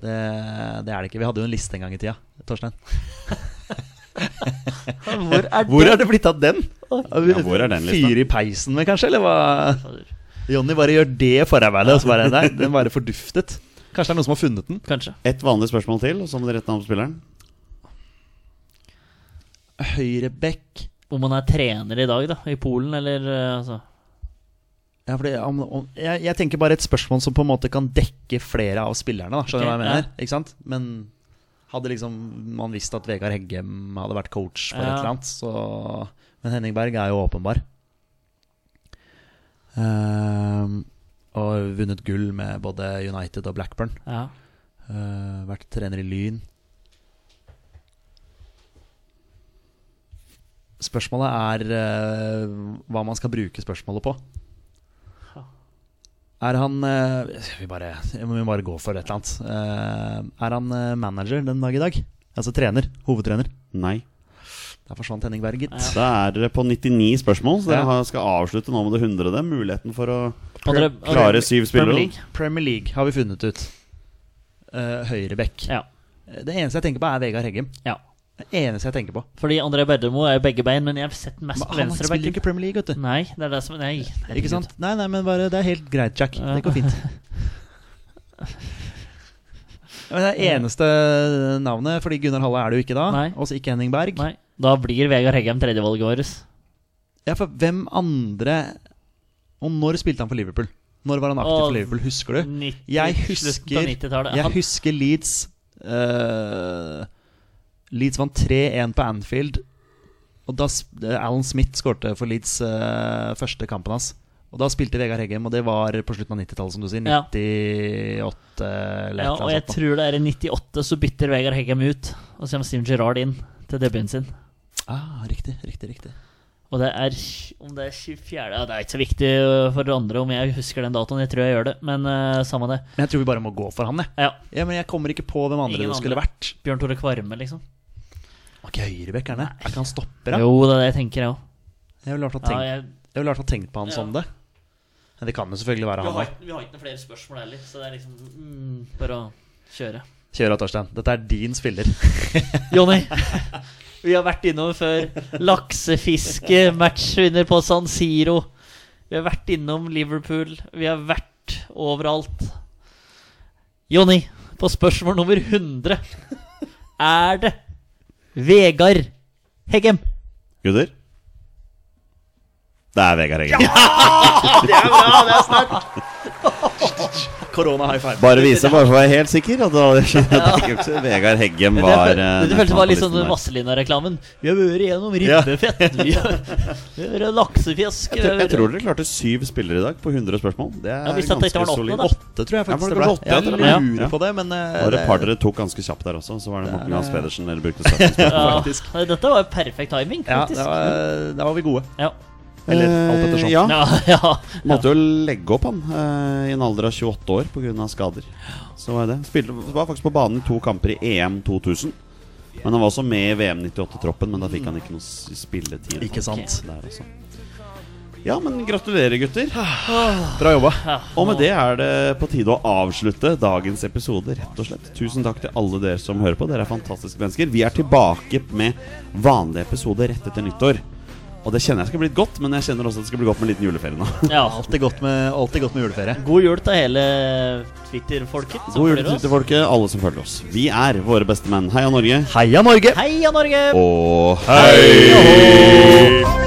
Det, det er det ikke. Vi hadde jo en liste en gang i tida, Torstein. Hvor er Hvor er det blitt av den? Ja, hvor er den lista? Fyr i peisen med, kanskje? Eller hva? Jonny bare gjør det forarbeidet, og så bare Nei, den bare forduftet. Kanskje det er noen som har funnet den? Kanskje. Ett vanlig spørsmål til, og så må du rette navn på spilleren. Høyrebekk Om han er trener i dag, da, i Polen, eller øh, altså ja, fordi om, om, jeg, jeg tenker bare et spørsmål som på en måte kan dekke flere av spillerne. Da. Skjønner du Ok, hva jeg mener? Ikke sant? Men hadde liksom man visst at Vegard Heggem hadde vært coach for et Ja. eller annet, så Men Henning Berg er jo åpenbar. Ehm, og vunnet gull med både United og Blackburn. Ja. Eh, vært trener i Lyn. Spørsmålet er eh, hva man skal bruke spørsmålet på. Ja. Er han eh, vi, bare, vi må bare gå for et eller annet. Eh, er han eh, manager den dag i dag? Altså trener. Hovedtrener. Nei. Der forsvant Henning Berg, gitt. Ja. Da er dere på 99 spørsmål, så Ja. dere har, skal avslutte nå med det 100. Muligheten for å Andre, klare syv Premier spillere. League. Premier League har vi funnet ut. Uh, Høyrebekk. Ja. Eh, Det eneste jeg tenker på, er Vegard Heggem. Ja. Det eneste jeg tenker på. Fordi André Berdermo er jo begge bein, men jeg har sett den mest Men på han spiller jo venstrebacken. ikke Premier League, vet du. Nei, det er det som Nei. herregud. Ikke sant? Nei, nei, men bare Det er helt greit, Jack. Ja. Det går fint. Ja, Men det er eneste navnet, fordi Gunnar Halle er det jo ikke da. Nei. Også ikke Henning Berg. Nei. Da blir Vegard Heggem tredjevalget vårt. Ja, for hvem andre Og når spilte han for Liverpool? Når var han aktiv Åh, for Liverpool? Husker du? 90 Jeg slutten av husker- 90-tallet. Jeg Han- husker Leeds eh, Leeds vant 3-1 på Anfield. Og da sp- eh, Alan Smith skårte for Leeds eh, første kampen hans. Og da spilte Vegard Heggem, og det var på slutten av 90-tallet, som du sier. Ja. 98 eller et eller ja, og jeg annet sånt. tror det er i 98 så bytter Vegard Heggem ut, og så kommer Steven Gerrard inn til debuten sin. da. Ah, riktig, riktig, riktig. Og det er tj- om det er 24. Ja, det er ikke så viktig øh, for andre om jeg husker den datoen. Jeg tror jeg gjør det, men øh, samme det. Men jeg tror vi bare må gå for han, jeg. Ja, Ja, men jeg kommer ikke på hvem andre Ingen det skulle andre. vært. Bjørn Tore Kvarme, liksom. Var ikke Høyrebekk, er det? Er ikke han stopper, da? Jo, det er det jeg tenker, jeg òg. Jeg ville i hvert fall Ja, tenkt- jeg- jeg ville i hvert fall tenkt på han Ja. som det. Men det kan jo selvfølgelig være vi, han. da. har ikke, vi har ikke noen flere spørsmål heller, så det er liksom mm, bare å kjøre. Kjør av, Torstein. Dette er din spiller. Jonny, vi har vært innom før laksefiske, matchvinner på San Siro. Vi har vært innom Liverpool. Vi har vært overalt. Jonny, på spørsmål nummer 100 er det Vegard Heggem. Gutter? Det er Vegard Heggen. Korona high five. Bare vise, bare for å være helt sikker. At det var, det gikk jo ikke. Vegard Heggem Det, var det, eh, det føltes var litt nesten sånn på listen der. Vazelina-reklamen. Vi har vært igjennom ribbefett, vi har, vi har vært laksefisk Jeg tror, jeg vi har- tror dere klarte syv spillere i dag på 100 spørsmål. Det er Ja, hvis dette ikke ganske var den solid. åttende, da. Åtte, tror jeg Ja, faktisk var det det ble. åtte, Jeg eller? lurer Ja. på det, men eh, Det var det- et par dere tok ganske kjapt der også. Så var det Morten Gans Pedersen dere brukte starten. ja, faktisk. Nei, Dette var jo perfekt timing, ja, faktisk. da var, da var vi gode. Ja. Eller alt ettersom. Ja, Ja, ja. måtte jo legge opp han eh, i en alder av 28 år pga. skader. Så var det. Spilte, var faktisk på banen i to kamper i EM 2000. Men han var også med i VM 98-troppen, men da fikk han ikke noe s- spilletid. Ikke sant. Der også. Ja, men gratulerer, gutter. Bra jobba. Ja, Og med det er det på tide å avslutte dagens episode, rett og slett. Tusen takk til alle dere som hører på. Dere er fantastiske mennesker. Vi er tilbake med vanlige episoder rett etter nyttår. Og det kjenner jeg skal bli godt, men jeg kjenner også at det skal bli godt med en liten juleferie nå. ja. Alltid godt med, alltid godt med juleferie. God jul til hele Twitter-folket. som God jul følger til oss. Twitter-folket, alle som følger oss. Vi er våre beste menn. Heia Norge. Heia Norge! Heia Norge! Og Hei!